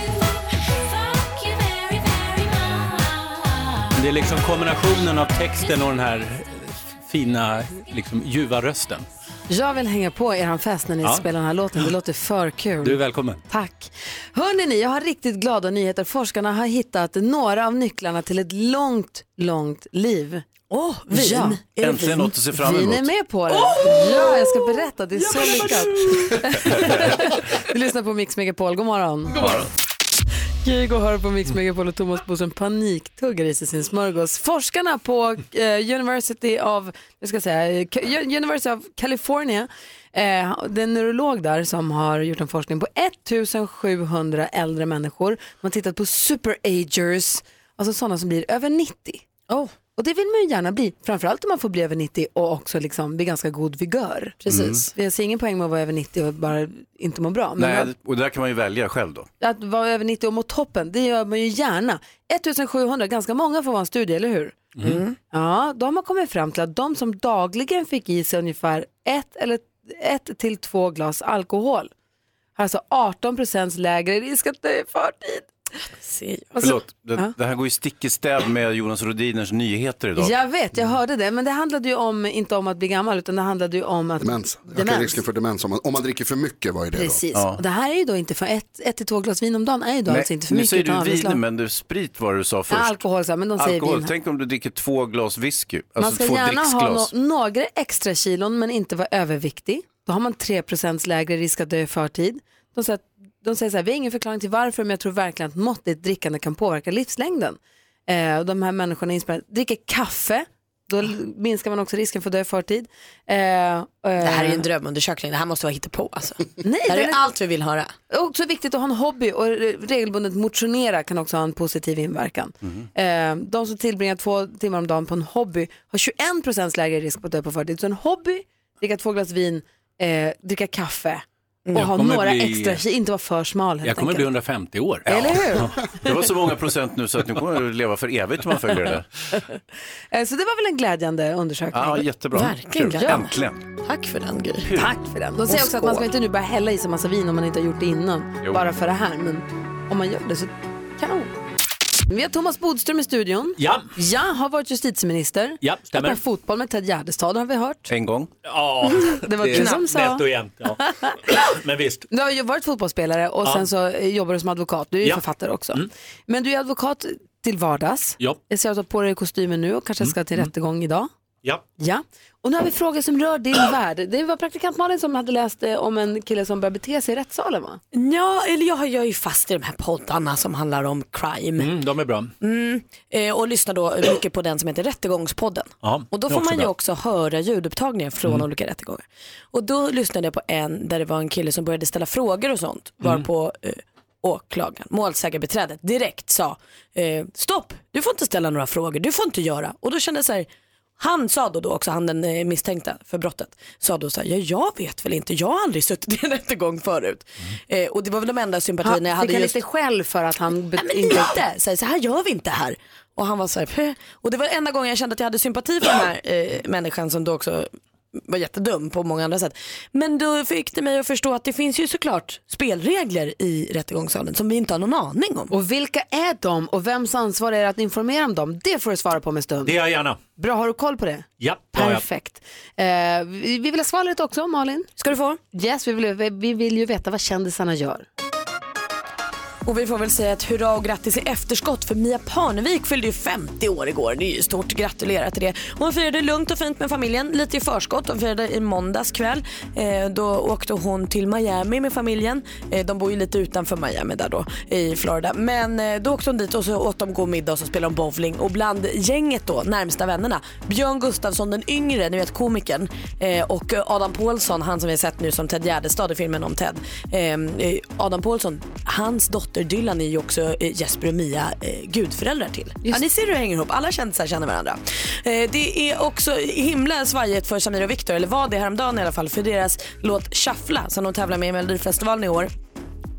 Speaker 17: fuck you very, very much.
Speaker 14: Det är liksom kombinationen av texten och den här eh, fina, liksom ljuva rösten.
Speaker 1: Jag vill hänga på er fest när ni
Speaker 14: Ja.
Speaker 1: spelar den här låten. Det låter för kul.
Speaker 14: Du är välkommen.
Speaker 1: Tack. Hörrni, ni, jag har riktigt glada nyheter. Forskarna har hittat några av nycklarna till ett långt, långt liv.
Speaker 3: Åh, vin.
Speaker 1: Ja.
Speaker 2: Är det Äntligen vin? något att se fram emot.
Speaker 1: Vin är med på det. Ja, jag ska berätta. Det är så lyckat. Vi lyssnar på Mix Megapol. God morgon. God morgon. Kygo hör på Mix Megapol och Thomas Bodström paniktuggar i sig sin smörgås. Forskarna på eh, University of, jag ska säga, eh, Ca- University of California, eh, det är en neurolog där som har gjort en forskning på 1700 äldre människor. Man har tittat på superagers Alltså sådana som blir över 90.
Speaker 3: Oh.
Speaker 1: Och det vill man ju gärna bli, framförallt om man får bli över 90 och också liksom bli ganska god vigör.
Speaker 2: Precis.
Speaker 1: Mm. Jag ser ingen poäng med att vara över 90 och bara inte må bra. Men
Speaker 2: Nej, och det där kan man ju välja själv då.
Speaker 1: att, att vara över 90 och må toppen, det gör man ju gärna. 1700, ganska många får vara en studie, eller hur?
Speaker 17: Mm.
Speaker 1: Ja, de har kommit fram till att de som dagligen fick i sig ungefär ett, eller ett till två glas alkohol har alltså 18 procents lägre risk att dö i förtid. Alltså-
Speaker 2: Förlåt, det,
Speaker 1: Ja.
Speaker 2: det här går ju stick i stäv med Jonas Rodiners nyheter idag.
Speaker 1: Jag vet, jag hörde det. Men det handlade ju om, inte om att bli gammal, utan det handlade ju om att...
Speaker 6: Demens. Ökar
Speaker 1: Demens.
Speaker 6: risken för demens om man, om man dricker för mycket. Var ju det
Speaker 1: Precis.
Speaker 6: Då.
Speaker 1: Och det här är ju då inte för ett, ett till två glas vin om dagen är ju då
Speaker 2: Nej,
Speaker 1: alltså inte för
Speaker 2: nu
Speaker 1: mycket. utan
Speaker 2: säger du
Speaker 1: avslag.
Speaker 2: vin, men du, sprit var det du sa först.
Speaker 1: Ja, alkohol, så här, men de säger
Speaker 2: Alkohol,
Speaker 1: vin. här.
Speaker 2: tänk om du dricker två glas whisky, alltså
Speaker 1: man ska
Speaker 2: två
Speaker 1: gärna ha
Speaker 2: dricksglas.
Speaker 1: nå- några extra kilon men inte vara överviktig. Då har man 3% lägre risk att dö i förtid. De säger, de säger så här, vi har ingen förklaring till varför men jag tror verkligen att måttligt drickande kan påverka livslängden. Eh, och de här människorna är inspirerade. dricker kaffe, då l- minskar man också risken för att dö i förtid. Eh, det
Speaker 3: Det här är ju en drömundersökning, det här måste vara hittepå alltså.
Speaker 1: Nej,
Speaker 3: det här är
Speaker 1: den är-
Speaker 3: allt vi vill höra.
Speaker 1: Också viktigt att ha en hobby och re- regelbundet motionera kan också ha en positiv inverkan.
Speaker 14: Mhm.
Speaker 1: Eh, de som tillbringar två timmar om dagen på en hobby har 21 lägre risk på att dö på förtid. Så en hobby, dricka två glas vin, eh, dricka kaffe och
Speaker 14: Mm. Jag
Speaker 1: ha
Speaker 14: kommer
Speaker 1: några
Speaker 14: bli-
Speaker 1: extra kilo, inte vara för smal helt
Speaker 14: Jag kommer
Speaker 1: enkelt.
Speaker 14: bli 150 år.
Speaker 1: Eller hur?
Speaker 2: Det var så många procent nu så att nu kommer du leva för evigt om man följer det.
Speaker 1: Eh, så det var väl en glädjande undersökning.
Speaker 2: Ja, jättebra.
Speaker 1: Verkligen.
Speaker 2: Kul.
Speaker 1: Ja.
Speaker 2: Äntligen.
Speaker 3: Tack för den Gry.
Speaker 1: Tack för den. De säger
Speaker 3: Och
Speaker 1: också att man ska
Speaker 3: skål.
Speaker 1: inte nu bara hälla i sig massa vin om man inte har gjort det innan.
Speaker 3: Jo.
Speaker 1: Bara för det här. Men om man gör det så kanon. Vi har Thomas Bodström i studion.
Speaker 14: Ja.
Speaker 1: Ja, har varit justitieminister.
Speaker 14: Ja, stämmer.
Speaker 1: Har pratat fotboll med Ted Gärdestad har vi hört.
Speaker 2: En gång.
Speaker 14: Ja,
Speaker 1: Det var du som sa.
Speaker 14: Nätt och jämnt, ja. Men visst.
Speaker 1: Du har ju varit fotbollsspelare och
Speaker 14: Ja.
Speaker 1: sen så eh, jobbar du som advokat. Du är ju
Speaker 14: Ja. Mm.
Speaker 1: författare också. Men du är advokat till vardags.
Speaker 14: Ja. Mm,
Speaker 1: Jag ser att du har på dig kostymen nu och kanske ska till rättegång idag.
Speaker 14: Ja.
Speaker 1: Ja, och nu har vi frågor som rör din värld. Det var praktikant Malin som hade läst eh, om en kille som började bete sig i rättssalen va?
Speaker 3: Ja, eller jag, jag är ju fast i de här poddarna som handlar om crime.
Speaker 14: Mm, de är bra.
Speaker 3: Mm, eh, och lyssnar då mycket på den som heter Rättegångspodden.
Speaker 14: Ja,
Speaker 3: Och då
Speaker 14: det är
Speaker 3: får
Speaker 14: också
Speaker 3: man ju
Speaker 14: bra.
Speaker 3: också höra ljudupptagningar från
Speaker 14: Mm.
Speaker 3: olika rättegångar. Och då lyssnade jag på en där det var en kille som började ställa frågor och sånt.
Speaker 14: Mm.
Speaker 3: Varpå eh, åklagaren, målsägarbiträdet direkt sa eh, stopp, du får inte ställa några frågor, du får inte göra. Och då kände jag så här, han sa då, då också, han den eh, misstänkta för brottet, sa då så här, ja jag vet väl inte, jag har aldrig suttit i en rättegång förut.
Speaker 14: Mm.
Speaker 3: Eh, och det var väl de enda sympatierna
Speaker 1: Han
Speaker 3: jag
Speaker 1: fick
Speaker 3: hade
Speaker 1: han
Speaker 3: just
Speaker 1: lite skäll för att han... be-
Speaker 3: Nej, men lite, så här, så här gör vi inte här. Och han var så här, "Pö." och det var enda gången jag kände att jag hade sympati för den här eh, människan som då också var jättedum på många andra sätt. Men då fick det mig att förstå att det finns ju såklart spelregler i rättegångssalen som vi inte har någon aning om.
Speaker 1: Och vilka är de och vems ansvar är det att informera om dem? Det får du svara på med stund.
Speaker 14: Det gör jag gärna.
Speaker 1: Bra, har du koll på det?
Speaker 14: Ja, det har jag.
Speaker 1: Perfekt. Eh, vi vi vill ha skvallret också, Malin.
Speaker 3: Ska du få?
Speaker 1: Yes, vi vill, vi- vi vill ju veta vad kändisarna gör.
Speaker 3: Och vi får väl säga ett hurra och grattis i efterskott för Mia Parnevik fyllde ju 50 år igår. Det är ju stort, gratulerar till det. Hon firade lugnt och fint med familjen, lite i förskott. De firade i måndags kväll. Eh, då åkte hon till Miami med familjen. Eh, de bor ju lite utanför Miami där då i Florida. Men eh, då åkte hon dit och så åt de god middag och så spelade de bowling. Och bland gänget då, närmsta vännerna, Björn Gustafsson den yngre, ni vet komikern eh, och Adam Pålsson, han som vi har sett nu som Ted Gärdestad i filmen om Ted. Eh, eh, Adam Pålsson, hans dotter Dylan är ju också eh, Jesper och Mia eh, gudföräldrar till. Ja, ni ser hur det hänger ihop, alla kändisar känner varandra. Eh, det är också himla svajigt för Samir och Viktor, eller var det häromdagen i alla fall, för deras låt Shuffla som de tävlar med i Melodifestivalen i år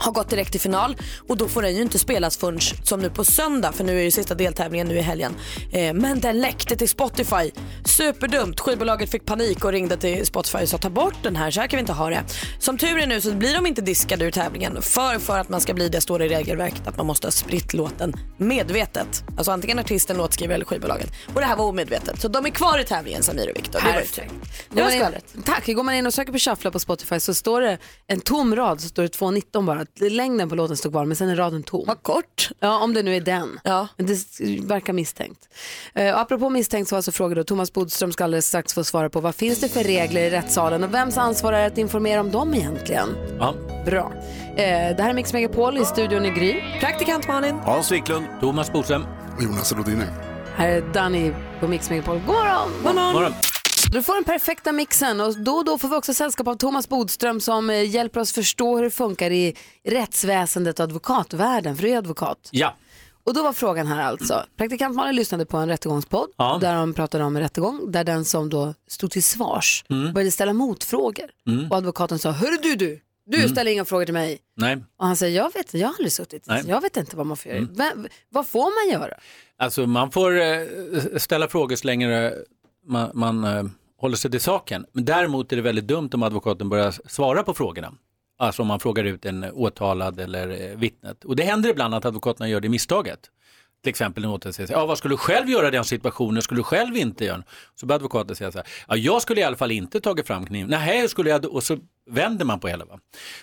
Speaker 3: har gått direkt till final och då får den ju inte spelas förrän som nu på söndag för nu är ju sista deltävlingen nu i helgen. Eh, men den läckte till Spotify. Superdumt. Skivbolaget fick panik och ringde till Spotify och sa ta bort den här, så här kan vi inte ha det. Som tur är nu så blir de inte diskade ur tävlingen för, för att man ska bli det står det i regelverket att man måste ha spritt låten medvetet. Alltså antingen artisten, låtskrivare eller skivbolaget. Och det här var omedvetet så de är kvar i tävlingen Samir och Viktor. Det var ju
Speaker 1: Perfekt.
Speaker 3: trevligt. Det
Speaker 1: Går
Speaker 3: var
Speaker 1: man in-
Speaker 3: skvallret.
Speaker 1: Tack, går man in och söker på Shuffla på Spotify så står det en tom rad, så står det 2.19 bara. Längden på låten står kvar men sen är raden tom. Vad
Speaker 3: kort.
Speaker 1: Ja, om det nu är den.
Speaker 3: Ja.
Speaker 1: Men det s- verkar misstänkt. Eh, och apropå misstänkt så var alltså frågor då, Thomas Bodström ska alldeles strax få svara på vad finns det för regler i rättssalen och vems ansvar är det att informera om dem egentligen?
Speaker 14: Ja.
Speaker 1: Bra. Eh, det här är Mix Megapol i studion i Gry.
Speaker 3: Praktikant Malin.
Speaker 2: Hans Wiklund.
Speaker 14: Thomas Bodström.
Speaker 6: Jonas Rodiner.
Speaker 1: Här är Danny på Mix Megapol. God morgon! Du får den perfekta mixen och då och då får vi också sällskap av Thomas Bodström som eh, hjälper oss förstå hur det funkar i rättsväsendet och advokatvärlden, för du är advokat.
Speaker 14: Ja.
Speaker 1: Och då var frågan här alltså. Praktikant Malin lyssnade på en rättegångspodd
Speaker 17: Ja.
Speaker 1: där de pratade om en rättegång där den som då stod till svars
Speaker 17: Mm.
Speaker 1: började ställa motfrågor.
Speaker 17: Mm.
Speaker 1: Och advokaten sa, hörru du du, du
Speaker 17: Mm.
Speaker 1: ställer inga frågor till mig.
Speaker 14: Nej.
Speaker 1: Och han säger, jag vet jag har aldrig suttit,
Speaker 14: Nej.
Speaker 1: jag vet inte vad man får göra.
Speaker 14: Mm.
Speaker 1: Vem- vad får man göra?
Speaker 14: Alltså man får eh, ställa frågor så länge eh, man, man eh, håller sig till saken. Men däremot är det väldigt dumt om advokaten börjar svara på frågorna. Alltså om man frågar ut en åtalad eller eh, vittnet. Och det händer ibland att advokaterna gör det misstaget. Till exempel en åtalad säger, så här, ja, vad skulle du själv göra i den situationen, skulle du själv inte göra? Så börjar advokaten säga så här, ja, jag skulle i alla fall inte tagit fram kniven, nej, hur skulle jag, då?" och så vänder man på hela. Va?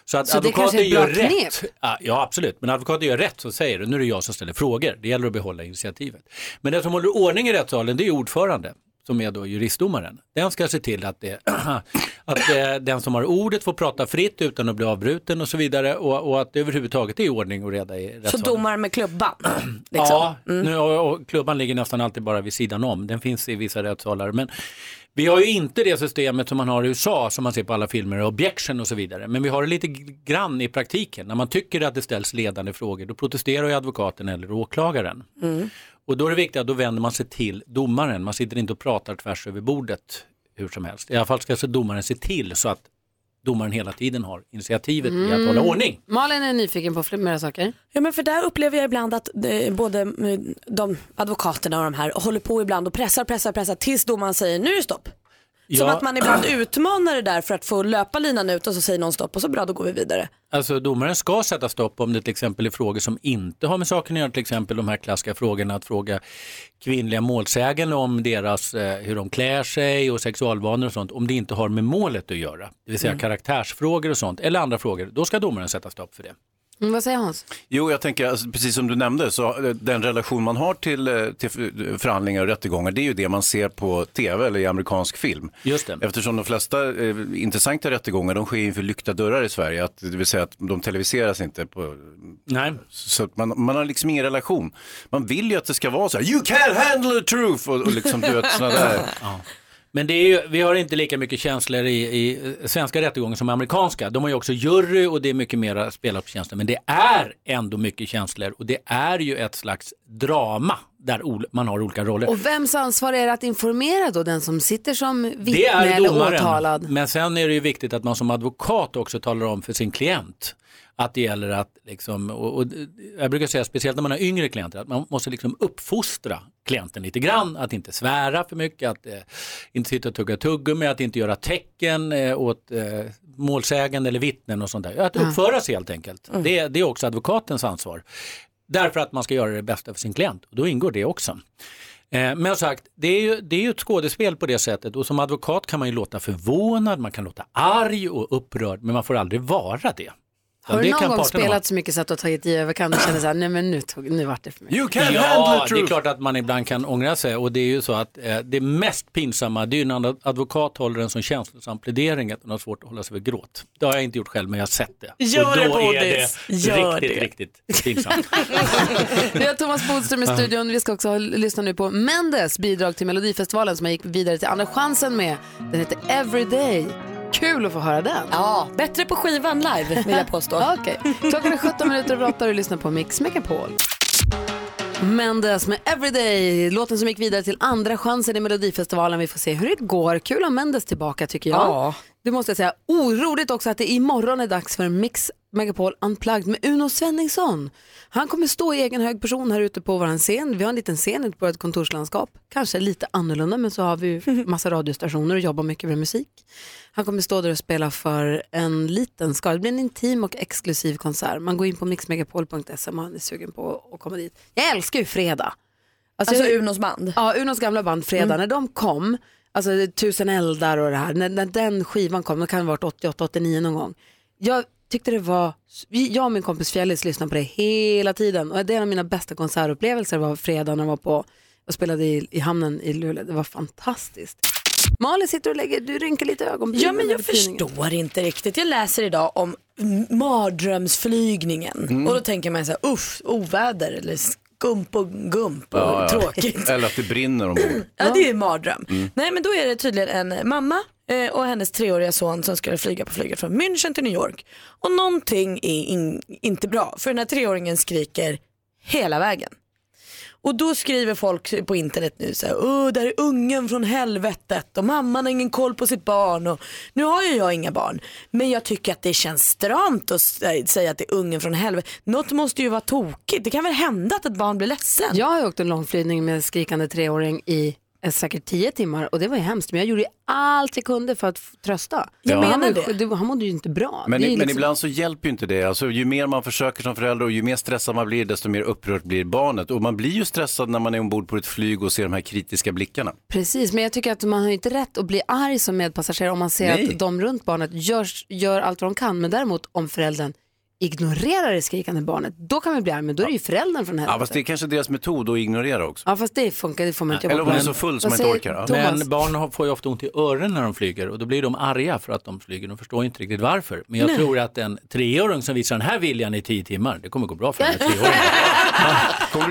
Speaker 14: Så att
Speaker 1: Så det kanske
Speaker 14: advokaten
Speaker 1: är ett
Speaker 14: gör
Speaker 1: bra knep.
Speaker 14: rätt. Ja, ja, absolut. Men advokaten gör rätt så säger du. Nu är det jag som ställer frågor. Det gäller att behålla initiativet. Men den som håller ordning i rättssalen, det är ordförande som är då juristdomaren. Den ska se till att, det, att eh, den som har ordet får prata fritt utan att bli avbruten och så vidare och, och att det överhuvudtaget är ordning och reda i
Speaker 3: Så
Speaker 14: rättssalen.
Speaker 3: domar med klubban. liksom.
Speaker 14: Ja, nu, och, och klubban ligger nästan alltid bara vid sidan om. Den finns i vissa rättssalar. Men vi har ju inte det systemet som man har i USA som man ser på alla filmer, objection och så vidare. Men vi har det lite grann i praktiken. När man tycker att det ställs ledande frågor, då protesterar ju advokaten eller åklagaren.
Speaker 17: Mm.
Speaker 14: Och då är det viktigt att då vänder man sig till domaren. Man sitter inte och pratar tvärs över bordet hur som helst. I alla fall ska så domaren se till så att domaren hela tiden har initiativet i att hålla ordning.
Speaker 1: Malin är nyfiken på fler mera saker.
Speaker 3: Ja men för där upplever jag ibland att eh, både eh, de advokaterna och de här håller på ibland och pressar, pressar, pressar tills domaren säger nu är det stopp. Som
Speaker 14: Ja.
Speaker 3: att man ibland utmanar det där för att få löpa linan ut och så säger någon stopp och så bra då går vi vidare.
Speaker 14: Alltså domaren ska sätta stopp om det till exempel är frågor som inte har med saken att göra, till exempel de här klassiska frågorna att fråga kvinnliga målsägande om deras, eh, hur de klär sig och sexualvanor och sånt, om det inte har med målet att göra, det vill säga
Speaker 1: Mm.
Speaker 14: karaktärsfrågor och sånt, eller andra frågor, då ska domaren sätta stopp för det.
Speaker 1: Mm, vad säger Hans?
Speaker 2: Jo, jag tänker, alltså, precis som du nämnde, så eh, den relation man har till, eh, till f- förhandlingar och rättegångar, det är ju det man ser på tv eller i amerikansk film.
Speaker 14: Just det.
Speaker 2: Eftersom de flesta eh, intressanta rättegångar, de sker inför lyckta dörrar i Sverige, att, det vill säga att de televiseras inte. På,
Speaker 14: Nej.
Speaker 2: Så att man, man har liksom ingen relation. Man vill ju att det ska vara så här, you can handle the truth, och, och liksom du vet sådana där.
Speaker 14: Ja. Men det är ju, vi har inte lika mycket känslor i, i eh, svenska rättegångar som amerikanska. De har ju också jury och det är mycket mer spelat på känslor. Men det är ändå mycket känslor och det är ju ett slags drama där ol- man har olika roller.
Speaker 1: Och vems ansvar är det att informera då den som sitter som
Speaker 14: Det
Speaker 1: vittne
Speaker 14: är
Speaker 1: eller
Speaker 14: domaren.
Speaker 1: åtalad?
Speaker 14: Men sen är det ju viktigt att man som advokat också talar om för sin klient att det gäller att, liksom, och, och, jag brukar säga speciellt när man har yngre klienter, att man måste liksom uppfostra klienten lite grann, att inte svära för mycket, att eh, inte sitta och tugga tuggummi, att inte göra tecken eh, åt eh, målsägande eller vittnen och sånt där. Att
Speaker 17: Mm.
Speaker 14: uppföra sig helt enkelt. Det, det är också advokatens ansvar. Därför att man ska göra det bästa för sin klient, och då ingår det också. Eh, Men som sagt, det är, ju, det är ju ett skådespel på det sättet och som advokat kan man ju låta förvånad, man kan låta arg och upprörd men man får aldrig vara det.
Speaker 1: Har
Speaker 14: det
Speaker 1: du någon
Speaker 14: kan
Speaker 1: gång
Speaker 14: parterna vara.
Speaker 1: spelat så mycket så att du har tagit i överkant och känner så här, nej men nu, tog, nu vart det för mycket.
Speaker 14: ja, det är klart att man ibland kan ångra sig och det är ju så att eh, det mest pinsamma det är ju när en advokat håller en sån känslosam plädering att man har svårt att hålla sig vid gråt. Det har jag inte gjort själv men jag har sett det.
Speaker 17: Gör
Speaker 14: och
Speaker 17: det,
Speaker 14: då är
Speaker 17: Bodis.
Speaker 14: det
Speaker 17: Gör
Speaker 14: riktigt,
Speaker 17: det.
Speaker 14: riktigt pinsamt.
Speaker 1: Vi har Thomas Bodström i
Speaker 14: Ja.
Speaker 1: studion. Vi ska också lyssna nu på Mendes bidrag till Melodifestivalen som han gick vidare till Andra chansen med. Den heter Everyday. Kul att få höra den.
Speaker 3: Ja, bättre på skivan live vill jag påstå.
Speaker 1: Okej. Klockan är 17 minuter över 8 och du lyssnar på Mix Megapol. Mendes med Everyday, låten som gick vidare till andra chansen i Melodifestivalen. Vi får se hur det går. Kul att ha Mendes tillbaka tycker jag.
Speaker 3: Ja.
Speaker 1: Det måste jag säga. Oroligt också att det imorgon är dags för Mix Megapol Unplugged med Uno Svenningsson. Han kommer stå i egen hög person här ute på vår scen. Vi har en liten scen ute på ett kontorslandskap. Kanske lite annorlunda men så har vi ju massa radiostationer och jobbar mycket med musik. Han kommer stå där och spela för en liten skara. Det blir en intim och exklusiv konsert. Man går in på mixmegapol.se om man är sugen på att komma dit. Jag älskar ju fredag.
Speaker 3: Alltså
Speaker 1: jag-
Speaker 3: Unos band? Mm.
Speaker 1: Ja, Unos gamla band Fredag. När de kom, alltså Tusen eldar och det här, när, när den skivan kom, det kan ha varit 88-89 någon gång. Jag tyckte det var, jag och min kompis Fjällis lyssnade på det hela tiden och det är en av mina bästa konsertupplevelser var Fredag när de var på och spelade i, i hamnen i Luleå. Det var fantastiskt. Malin sitter och lägger, du rynkar lite ögonbrynen.
Speaker 3: Ja men jag
Speaker 1: över tidningen.
Speaker 3: förstår inte riktigt. Jag läser idag om m- mardrömsflygningen
Speaker 2: Mm.
Speaker 3: och då tänker man så här, uff, oväder eller skump och gump och tråkigt.
Speaker 2: Eller att det brinner ombord.
Speaker 3: Ja, det är ju en mardröm.
Speaker 2: Mm.
Speaker 3: Nej, men då är det tydligen en mamma eh, och hennes treåriga son som skulle flyga på flyget från München till New York. Och någonting är in, inte bra, för den här treåringen skriker hela vägen. Och då skriver folk på internet nu så här, Åh, där är ungen från helvetet och mamman har ingen koll på sitt barn och nu har ju jag inga barn. Men jag tycker att det känns stramt att s- äh, säga att det är ungen från helvetet. Något måste ju vara tokigt, det kan väl hända att ett barn blir ledsen?
Speaker 1: Jag har ju åkt en långflygning med en skrikande treåring i eh, säkert tio timmar och det var ju hemskt men jag gjorde ju allt jag kunde för att f- trösta.
Speaker 2: Jag menar
Speaker 1: han, var ju-
Speaker 2: det.
Speaker 1: du- han mådde ju inte bra.
Speaker 2: Men,
Speaker 1: Det är
Speaker 2: i-
Speaker 1: ju
Speaker 2: men
Speaker 1: liksom-
Speaker 2: ibland så hjälper ju inte det. Alltså, ju mer man försöker som förälder och ju mer stressad man blir, desto mer upprört blir barnet. Och man blir ju stressad när man är ombord på ett flyg och ser de här kritiska blickarna.
Speaker 1: Precis, men jag tycker att man har ju inte rätt att bli arg som medpassagerare om man ser
Speaker 2: Nej.
Speaker 1: att de runt barnet gör, gör allt vad de kan. Men däremot om föräldern ignorerar det skrikande barnet, då kan man bli arg, men då är det ju föräldern från
Speaker 2: Ja,
Speaker 1: helvete.
Speaker 2: fast det är kanske deras metod att ignorera också.
Speaker 1: Ja, fast det funkar, det får man inte
Speaker 2: Eller
Speaker 1: jobba
Speaker 2: om man är
Speaker 1: med.
Speaker 2: så full som
Speaker 1: Vad
Speaker 2: man inte
Speaker 1: säger
Speaker 2: orkar. ja.
Speaker 1: Thomas?
Speaker 14: Men barn har- får ju ofta ont i öronen när de flyger och då blir de arga för att de flyger. De förstår inte riktigt varför. Men jag
Speaker 1: Nej.
Speaker 14: tror att en treåring som visar den här viljan i tio timmar, det kommer gå bra för den här treåringen.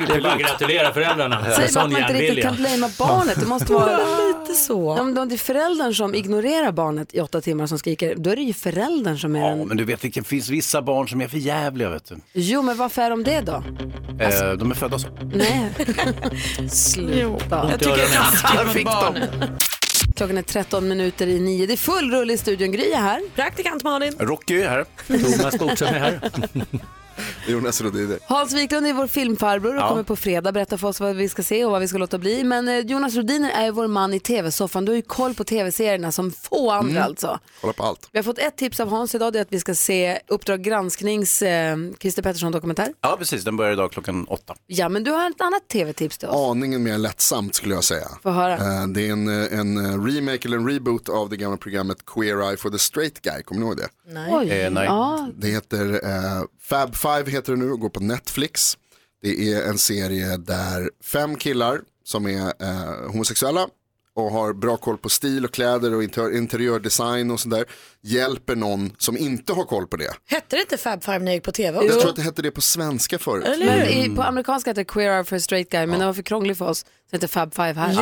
Speaker 14: det är bara att gratulera föräldrarna för
Speaker 1: Säg bara att
Speaker 14: sån
Speaker 1: man inte riktigt
Speaker 14: hjärnvilja.
Speaker 1: kan blamea barnet. Det måste vara
Speaker 3: lite så.
Speaker 1: Om det är föräldern som ignorerar barnet i åtta timmar som skriker, då är det ju föräldern som är
Speaker 2: Ja,
Speaker 1: den.
Speaker 2: men du vet, det finns vissa barn som är för jävliga, vet du.
Speaker 1: Jo, men varför är de det då?
Speaker 2: Eh,
Speaker 1: Alltså-
Speaker 2: de är födda så.
Speaker 1: Nej. Sluta.
Speaker 2: Jag tycker det är taskigt mot
Speaker 1: barnen. Klockan är 13 minuter i nio. Det är full rulle i studion. Gry är här.
Speaker 3: Praktikant Malin.
Speaker 2: Rocky är här.
Speaker 14: Thomas Bodström är här.
Speaker 6: Jonas Rhodiner.
Speaker 1: Hans Wiklund är vår filmfarbror och
Speaker 6: Ja.
Speaker 1: kommer på fredag berätta för oss vad vi ska se och vad vi ska låta bli. Men eh, Jonas Rhodiner är ju vår man i tv-soffan. Du har ju koll på tv-serierna som få andra alltså.
Speaker 6: Kolla på allt.
Speaker 1: Vi har fått ett tips av Hans idag, det är att vi ska se Uppdrag gransknings eh, Christer Pettersson-dokumentär.
Speaker 2: Ja, precis. Den börjar idag klockan åtta.
Speaker 1: Ja, men du har ett annat tv-tips till oss.
Speaker 6: Aningen mer lättsamt skulle jag säga.
Speaker 1: Få höra.
Speaker 6: Eh, Det är en, eh, en eh, remake eller en reboot av det gamla programmet Queer Eye for the Straight Guy, kommer ni ihåg det?
Speaker 1: Nej. Oj. Eh, nej. Ja.
Speaker 6: Det heter eh, Fab Five heter det nu och går på Netflix. Det är en serie där fem killar som är eh, homosexuella och har bra koll på stil och kläder och inter- interiördesign och sådär hjälper någon som inte har koll på det.
Speaker 3: Hette det inte Fab Five när jag gick på tv?
Speaker 6: Jag tror att det hette det på svenska förut.
Speaker 1: Men i, på amerikanska heter det Queer Eye for a Straight Guy, men det var för krånglig för oss. Så det heter Fab Five här.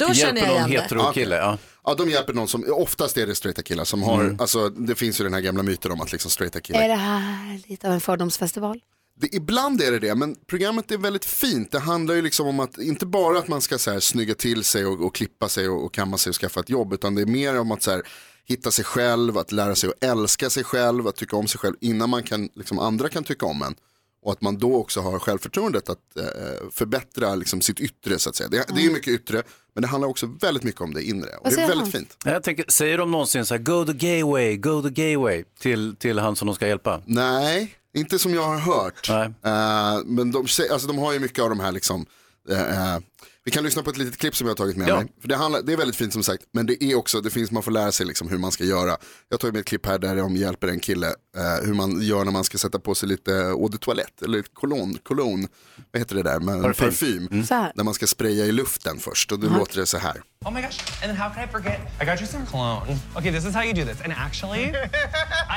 Speaker 6: Ja. Ja, de hjälper någon som, oftast är det straighta killar som har, alltså det finns ju den här gamla myten om att liksom straighta killar
Speaker 1: Är det här lite av en fördomsfestival?
Speaker 6: Det, ibland är det det, men programmet är väldigt fint. Det handlar ju liksom om att, inte bara att man ska så här, snygga till sig och, och klippa sig och, och kamma sig och skaffa ett jobb, utan det är mer om att så här, hitta sig själv, att lära sig att älska sig själv, att tycka om sig själv innan man kan, liksom, andra kan tycka om en. Och att man då också har självförtroendet att eh, förbättra liksom, sitt yttre så att säga. Det, det är ju mycket yttre, men det handlar också väldigt mycket om det inre. Och det är väldigt fint.
Speaker 2: Jag tänker, säger de någonsin så här, go the gay way, go the gay way, till, till han som de ska hjälpa?
Speaker 6: Nej, inte som jag har hört. Eh, men de, sä- alltså, de har ju mycket av de här liksom, eh, eh, vi kan lyssna på ett litet klipp som jag har tagit med mig. För det, handlar, det är väldigt fint som sagt, men det är också, det finns, man får lära sig liksom hur man ska göra. Jag tar med ett klipp här där de hjälper en kille eh, hur man gör när man ska sätta på sig lite eau de toilette, eller cologne, cologne, vad heter det där, med
Speaker 2: Parfym.
Speaker 6: parfym. parfym
Speaker 2: Mm. Så här.
Speaker 6: När man ska spraya i luften först och då
Speaker 2: Aha.
Speaker 6: låter det så här.
Speaker 18: Oh my gosh, and then how could I forget? I got you some cologne. Okay, this is how you do this. And actually,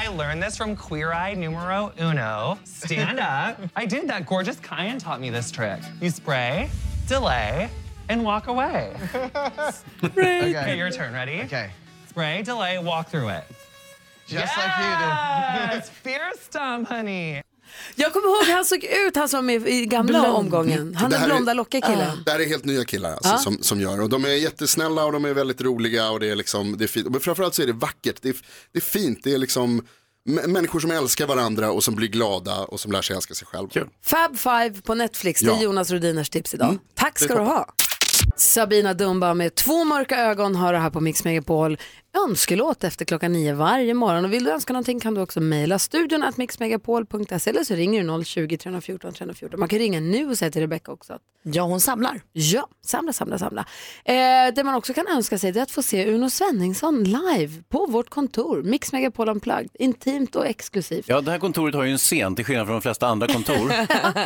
Speaker 18: I learned this from Queer Eye numero uno. Stand up. I did that. Gorgeous Kyan taught me this trick. You spray, delay, and walk away.
Speaker 17: Spray.
Speaker 18: Okay. your turn. Ready? Okay. Spray, delay, walk through it.
Speaker 17: Just
Speaker 18: yes!
Speaker 17: like you do.
Speaker 18: Yes! Fear stomp, honey.
Speaker 1: Jag kommer ihåg hur han såg ut, han som är med i gamla
Speaker 18: Blond.
Speaker 1: omgången. Han
Speaker 6: Det
Speaker 1: den
Speaker 6: här är-
Speaker 1: blonda lockiga killen.
Speaker 6: Det här är helt nya killar alltså,
Speaker 1: Ja.
Speaker 6: som, som gör och de är jättesnälla och de är väldigt roliga och det är liksom, det är fint. Men framförallt så är det vackert, det är, det är fint, det är liksom m- människor som älskar varandra och som blir glada och som lär sig älska sig själv.
Speaker 1: Fab Five på Netflix, det är
Speaker 6: Ja.
Speaker 1: Jonas Rhodiners tips idag. Tack
Speaker 6: Det
Speaker 1: ska
Speaker 6: är
Speaker 1: du ha. Sabina Dumba med två mörka ögon har du här på Mix Megapol. Önskelåt efter klockan nio varje morgon. Och vill du önska någonting kan du också mejla studion att mixmegapol.se eller så ringer du 020 314 314. Man kan ringa nu och säga till Rebecca också. Att...
Speaker 3: Ja, hon samlar.
Speaker 1: Ja, samla, samla, samla. Eh, det man också kan önska sig det är att få se Uno Svenningsson live på vårt kontor, Mix Megapol Unplugged. Intimt och exklusivt.
Speaker 2: Ja, det här kontoret har ju en scen, till skillnad från de flesta andra kontor,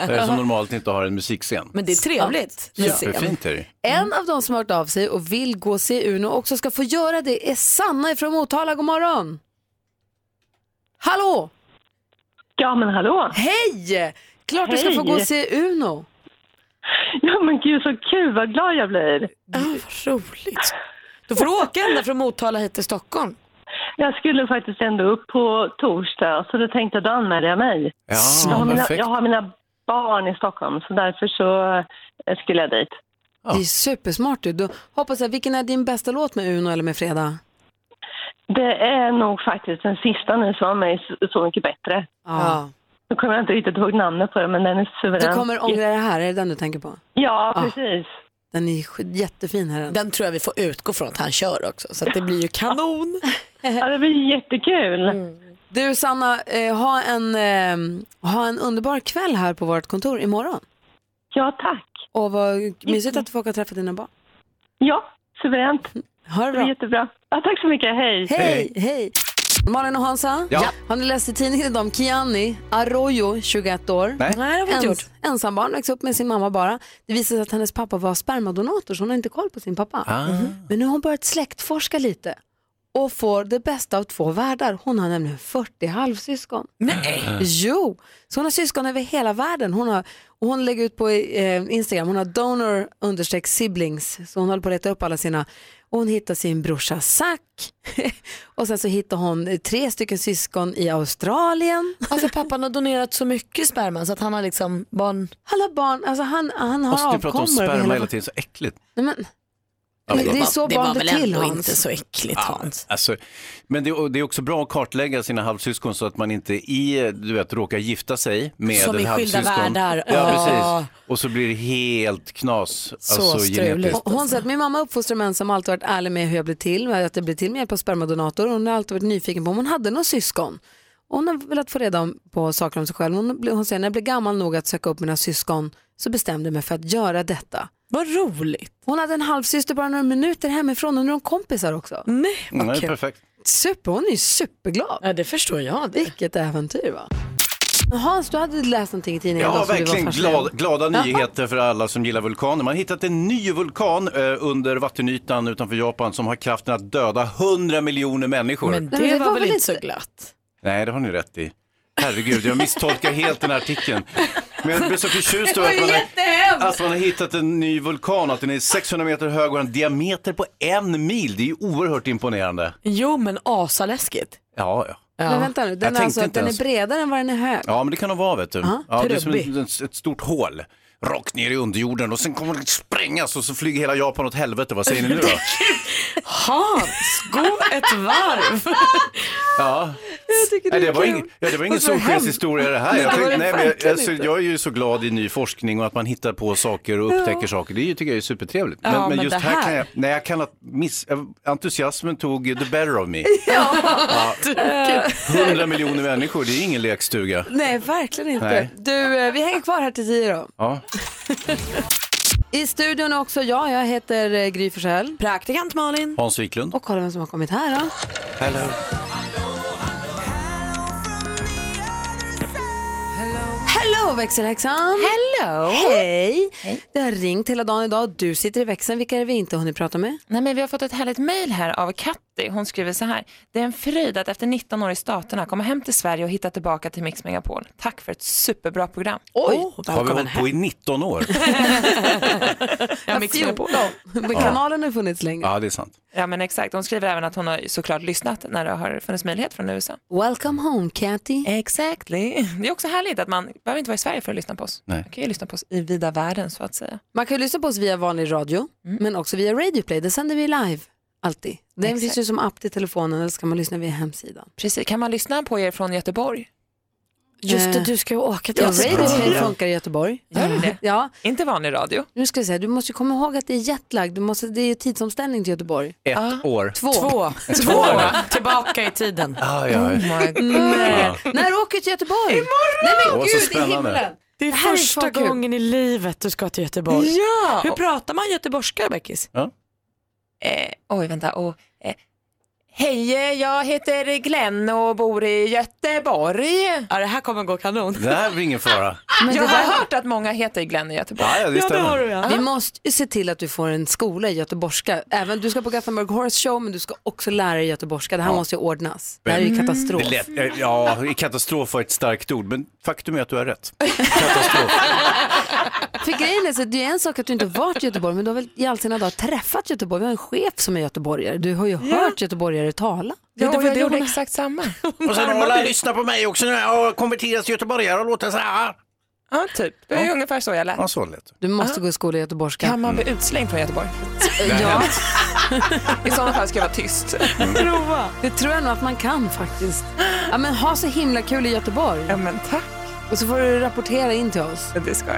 Speaker 2: eh, som normalt inte har en musikscen.
Speaker 1: Men det är trevligt med
Speaker 2: Ja.
Speaker 1: scen.
Speaker 2: Superfint är det.
Speaker 1: En av de som har hört av sig och vill gå och se Uno också ska få göra det är Sanna från Motala. God morgon! Hallå!
Speaker 19: Ja, men hallå!
Speaker 1: Hej! Klart du ska
Speaker 19: Hej.
Speaker 1: få gå och se Uno.
Speaker 19: Ja men gud så kul, vad glad jag blir.
Speaker 3: vad roligt. Då får du åka ända från Motala hit till Stockholm.
Speaker 19: Jag skulle faktiskt ändå upp på torsdag så då tänkte jag då anmäler jag mig.
Speaker 3: Ja,
Speaker 19: jag, har mina,
Speaker 3: perfekt.
Speaker 19: jag har mina
Speaker 11: barn i Stockholm så därför så eh, skulle jag dit.
Speaker 1: Det är supersmart du. Då hoppas jag, vilken är din bästa låt med Uno eller med Freda?
Speaker 11: Det är nog faktiskt den sista nu som var mig Så- Så mycket bättre.
Speaker 1: Ja.
Speaker 11: Nu kommer jag inte riktigt ihåg namnet på den men den är
Speaker 1: Du
Speaker 11: suverän.
Speaker 1: kommer ångra det här, är det den du tänker på?
Speaker 11: Ja,
Speaker 1: Ah.
Speaker 11: precis.
Speaker 1: Den är sk- jättefin här.
Speaker 3: Den tror jag vi får utgå från att han kör också. Så att det blir ju kanon.
Speaker 20: Eh.
Speaker 11: Ja, det blir jättekul.
Speaker 20: Mm.
Speaker 1: Du Sanna, eh, ha, en, eh, ha en underbar kväll här på vårt kontor imorgon.
Speaker 11: Ja, tack.
Speaker 1: Och vad mysigt att du får åka och träffa dina barn.
Speaker 11: Ja, suveränt.
Speaker 1: Ha det bra.
Speaker 11: Det är jättebra. Ja, tack så mycket, hej.
Speaker 1: Hej, hej. Malin och Hansa,
Speaker 11: Ja.
Speaker 1: har ni läst i tidningen idag om Kiani Arroyo, 21 år?
Speaker 3: Nej. Nej, det har vi inte gjort.
Speaker 1: Ensambarn, växte upp med sin mamma bara. Det visade sig att hennes pappa var spermadonator så hon har inte koll på sin pappa.
Speaker 17: Ah. Mhm.
Speaker 1: Men nu har hon börjat släktforska lite och får det bästa av två världar. Hon har nämligen 40 halvsyskon.
Speaker 3: Nej!
Speaker 1: Jo, så hon har syskon över hela världen. Hon, har, och hon lägger ut på eh, Instagram, hon har donor understreck siblings. Så hon håller på att leta upp alla sina. Och hon hittar sin brorsa Zack. och sen så hittar hon eh, tre stycken syskon i Australien.
Speaker 3: Alltså pappan har donerat så mycket sperma så att han har liksom barn.
Speaker 1: Han har barn, alltså han, han
Speaker 2: Alltså,
Speaker 1: har
Speaker 2: du pratar om
Speaker 1: avkommor över
Speaker 2: sperma
Speaker 1: hela
Speaker 2: hela tiden, så äckligt.
Speaker 1: Nej, men, men det är så barn blir till Hans.
Speaker 3: äckligt Hans.
Speaker 2: Alltså, men det, och det är också bra att kartlägga sina halvsyskon så att man inte i, du vet, råkar gifta sig med
Speaker 3: Som i
Speaker 2: en
Speaker 3: skilda
Speaker 2: halvsyskon.
Speaker 3: världar.
Speaker 2: Ja,
Speaker 3: Ja.
Speaker 2: precis. Och så blir det helt knas. alltså, genetiskt.
Speaker 1: Hon, hon säger att min mamma uppfostrar mig ensam och alltid varit ärlig med hur jag blev till, med att jag blev till med hjälp av spermadonator. Hon har alltid varit nyfiken på om hon hade några syskon. Och Hon har velat få reda om- på saker om sig själv. Hon, blev- hon säger när jag blev gammal nog att söka upp mina syskon så bestämde jag mig för att göra detta.
Speaker 3: Vad roligt.
Speaker 1: Hon hade en halvsyster bara några minuter hemifrån och nu är de kompisar också.
Speaker 3: Nej,
Speaker 2: Mm, det är perfekt.
Speaker 1: Super, hon är ju superglad.
Speaker 3: Ja, det förstår jag.
Speaker 1: Vilket äventyr va? Hans, du hade läst någonting i tidningen
Speaker 2: Ja,
Speaker 1: idag som du var
Speaker 2: verkligen
Speaker 1: fascinerad
Speaker 2: glad,
Speaker 1: av.
Speaker 2: glada
Speaker 1: Jaha.
Speaker 2: nyheter för alla som gillar vulkaner. Man har hittat en ny vulkan eh, under vattenytan utanför Japan som har kraften att döda 100 miljoner människor.
Speaker 3: Men det,
Speaker 1: men det
Speaker 3: var,
Speaker 1: var
Speaker 3: väl
Speaker 1: väl
Speaker 3: inte så glatt?
Speaker 2: Nej, det har ni rätt i. Herregud, jag misstolkar helt den här artikeln. Men jag blev så förtjust över att man, har, att man har hittat en ny vulkan, att den är 600 meter hög och har en diameter på en mil. Det är ju oerhört imponerande.
Speaker 3: Jo, men asaläskigt.
Speaker 2: Ja, ja.
Speaker 1: Men vänta nu,
Speaker 2: Jag
Speaker 1: den, är
Speaker 2: tänkte
Speaker 1: alltså,
Speaker 2: inte
Speaker 1: den är
Speaker 2: ens.
Speaker 1: bredare än vad den är hög.
Speaker 2: Ja, men det kan de vara, vet du.
Speaker 1: Ja,
Speaker 2: Ja, det är som
Speaker 1: trubbig.
Speaker 2: ett, ett stort hål. Rakt ner i underjorden och sen kommer det sprängas och så flyger hela Japan åt helvete. Vad säger ni nu då?
Speaker 3: Hans, gå ett varv.
Speaker 2: Ja.
Speaker 1: Jag tycker
Speaker 2: Nej, det, var
Speaker 1: kul.
Speaker 2: ing, ja, det var ingen
Speaker 1: Vad som har hänt?
Speaker 2: solskenshistoria det här.
Speaker 1: Nej,
Speaker 2: Jag,
Speaker 1: det var det
Speaker 2: tänkte, nej, men jag,
Speaker 1: verkligen
Speaker 2: alltså,
Speaker 1: inte.
Speaker 2: jag är ju så glad i ny forskning och att man hittar på saker och upptäcker saker. Det är ju- tycker jag är supertrevligt.
Speaker 3: Ja, men
Speaker 2: just
Speaker 3: det
Speaker 2: här, kan
Speaker 3: här-
Speaker 2: jag, nej, jag kan att miss, eh, entusiasmen tog the better of me.
Speaker 1: Ja.
Speaker 2: Ja. 100 miljoner människor, det är ingen lekstuga.
Speaker 1: Nej, verkligen inte.
Speaker 2: Nej.
Speaker 1: Du, eh, vi hänger kvar här till tio då.
Speaker 2: Ja.
Speaker 1: I studion är också jag, jag heter eh, Gry Forssell.
Speaker 3: Praktikant Malin.
Speaker 2: Hans Wiklund.
Speaker 1: Och kolla vem som har kommit här då.
Speaker 2: Hello.
Speaker 1: Hello växelhäxan! Hello! Hej! Det har ringt hela dagen idag och du sitter i växeln. Vilka är det vi inte har hunnit prata med?
Speaker 20: Nej, men vi har fått ett härligt mejl här av Katti. Hon skriver så här. Det är en fröjd att efter 19 år i Staterna komma hem till Sverige och hitta tillbaka till Mix Megapol. Tack för ett superbra program.
Speaker 1: Oj,
Speaker 2: Har vi hållit på i 19 år?
Speaker 20: jag Mix Megapol.
Speaker 1: Men
Speaker 20: Ja.
Speaker 1: kanalen har funnits länge.
Speaker 2: Ja, det är sant.
Speaker 20: Ja, men exakt. Hon skriver även att hon har såklart lyssnat när det har funnits möjlighet från USA.
Speaker 1: Welcome home Cathy.
Speaker 20: Exactly. Det är också härligt att man behöver inte vara i Sverige för att lyssna på oss.
Speaker 2: Nej.
Speaker 20: Man kan ju lyssna på oss i vida världen så att säga.
Speaker 1: Man kan ju lyssna på oss via vanlig radio,
Speaker 20: Mm.
Speaker 1: men också via Radio Play. Där sänder vi live, alltid. Den
Speaker 20: Exakt.
Speaker 1: finns ju som app till telefonen, eller så kan man lyssna via hemsidan.
Speaker 20: Precis. Kan man lyssna på er från Göteborg?
Speaker 1: Just det, du
Speaker 3: ska ju åka
Speaker 1: Ja, Radio Play funkar i Göteborg.
Speaker 20: Gör det det?
Speaker 1: Ja.
Speaker 20: Inte vanlig radio.
Speaker 1: Nu ska jag säga, du måste ju komma ihåg att det är jetlag, du måste, det är ju tidsomställning till Göteborg.
Speaker 2: Ett år.
Speaker 1: Två.
Speaker 3: Två. Två. Tillbaka i tiden.
Speaker 2: Ah, ja.
Speaker 20: Mm.
Speaker 1: Nej. Mm. När åker du till Göteborg? Imorgon! Nej men
Speaker 3: Åh, så
Speaker 1: gud, i
Speaker 3: spännande.
Speaker 1: himlen!
Speaker 3: Det är
Speaker 1: här
Speaker 3: första
Speaker 1: fan kul.
Speaker 3: gången i livet du ska till Göteborg.
Speaker 20: Ja.
Speaker 3: Hur pratar man göteborgska, Beckis?
Speaker 2: Ja.
Speaker 20: Eh, oj, vänta. Och, eh, Hej, eh, jag heter Glenn och bor i Göteborg.
Speaker 3: Ja, det här kommer gå kanon.
Speaker 2: Det här är ingen fara.
Speaker 1: Men
Speaker 20: jag
Speaker 1: det
Speaker 20: har
Speaker 1: där-
Speaker 20: hört att många heter Glenn i Göteborg.
Speaker 2: Ja, ja, det Ja, det stämmer. har du, ja.
Speaker 1: Vi måste ju se till att du får en skola i göteborgska. Även, du ska på Gothenburg Horse Show men du ska också lära dig göteborgska. Det här
Speaker 2: Ja.
Speaker 1: måste ju ordnas. Det här är ju katastrof.
Speaker 2: Det lät, eh, ja, katastrof var ett starkt ord, men faktum är att du har rätt.
Speaker 1: För grejen är så att det är en sak att du inte varit i Göteborg men du har väl i all sina dagar träffat Göteborg. Vi har en chef som är göteborgare. Du har ju hört göteborgare tala.
Speaker 20: Ja,
Speaker 1: Det var
Speaker 20: och
Speaker 1: ju
Speaker 20: jag
Speaker 1: det
Speaker 20: gjorde
Speaker 1: hon-
Speaker 20: exakt samma.
Speaker 2: Och sen har alla lyssnat på mig också när jag konverteras till göteborgare och låter så här.
Speaker 20: Ja, typ. Det är ungefär så jag lät.
Speaker 2: Ja, så lät
Speaker 1: Du måste gå i skola i göteborgska.
Speaker 20: Kan man bli utslängd från Göteborg?
Speaker 1: Ja.
Speaker 20: I sådana fall ska jag vara tyst.
Speaker 1: Prova. Mm. Det tror jag nog att man kan faktiskt. Ja, men ha så himla kul i Göteborg. Ja,
Speaker 20: men tack.
Speaker 1: Och så får du rapportera in till oss.
Speaker 20: Det ska jag.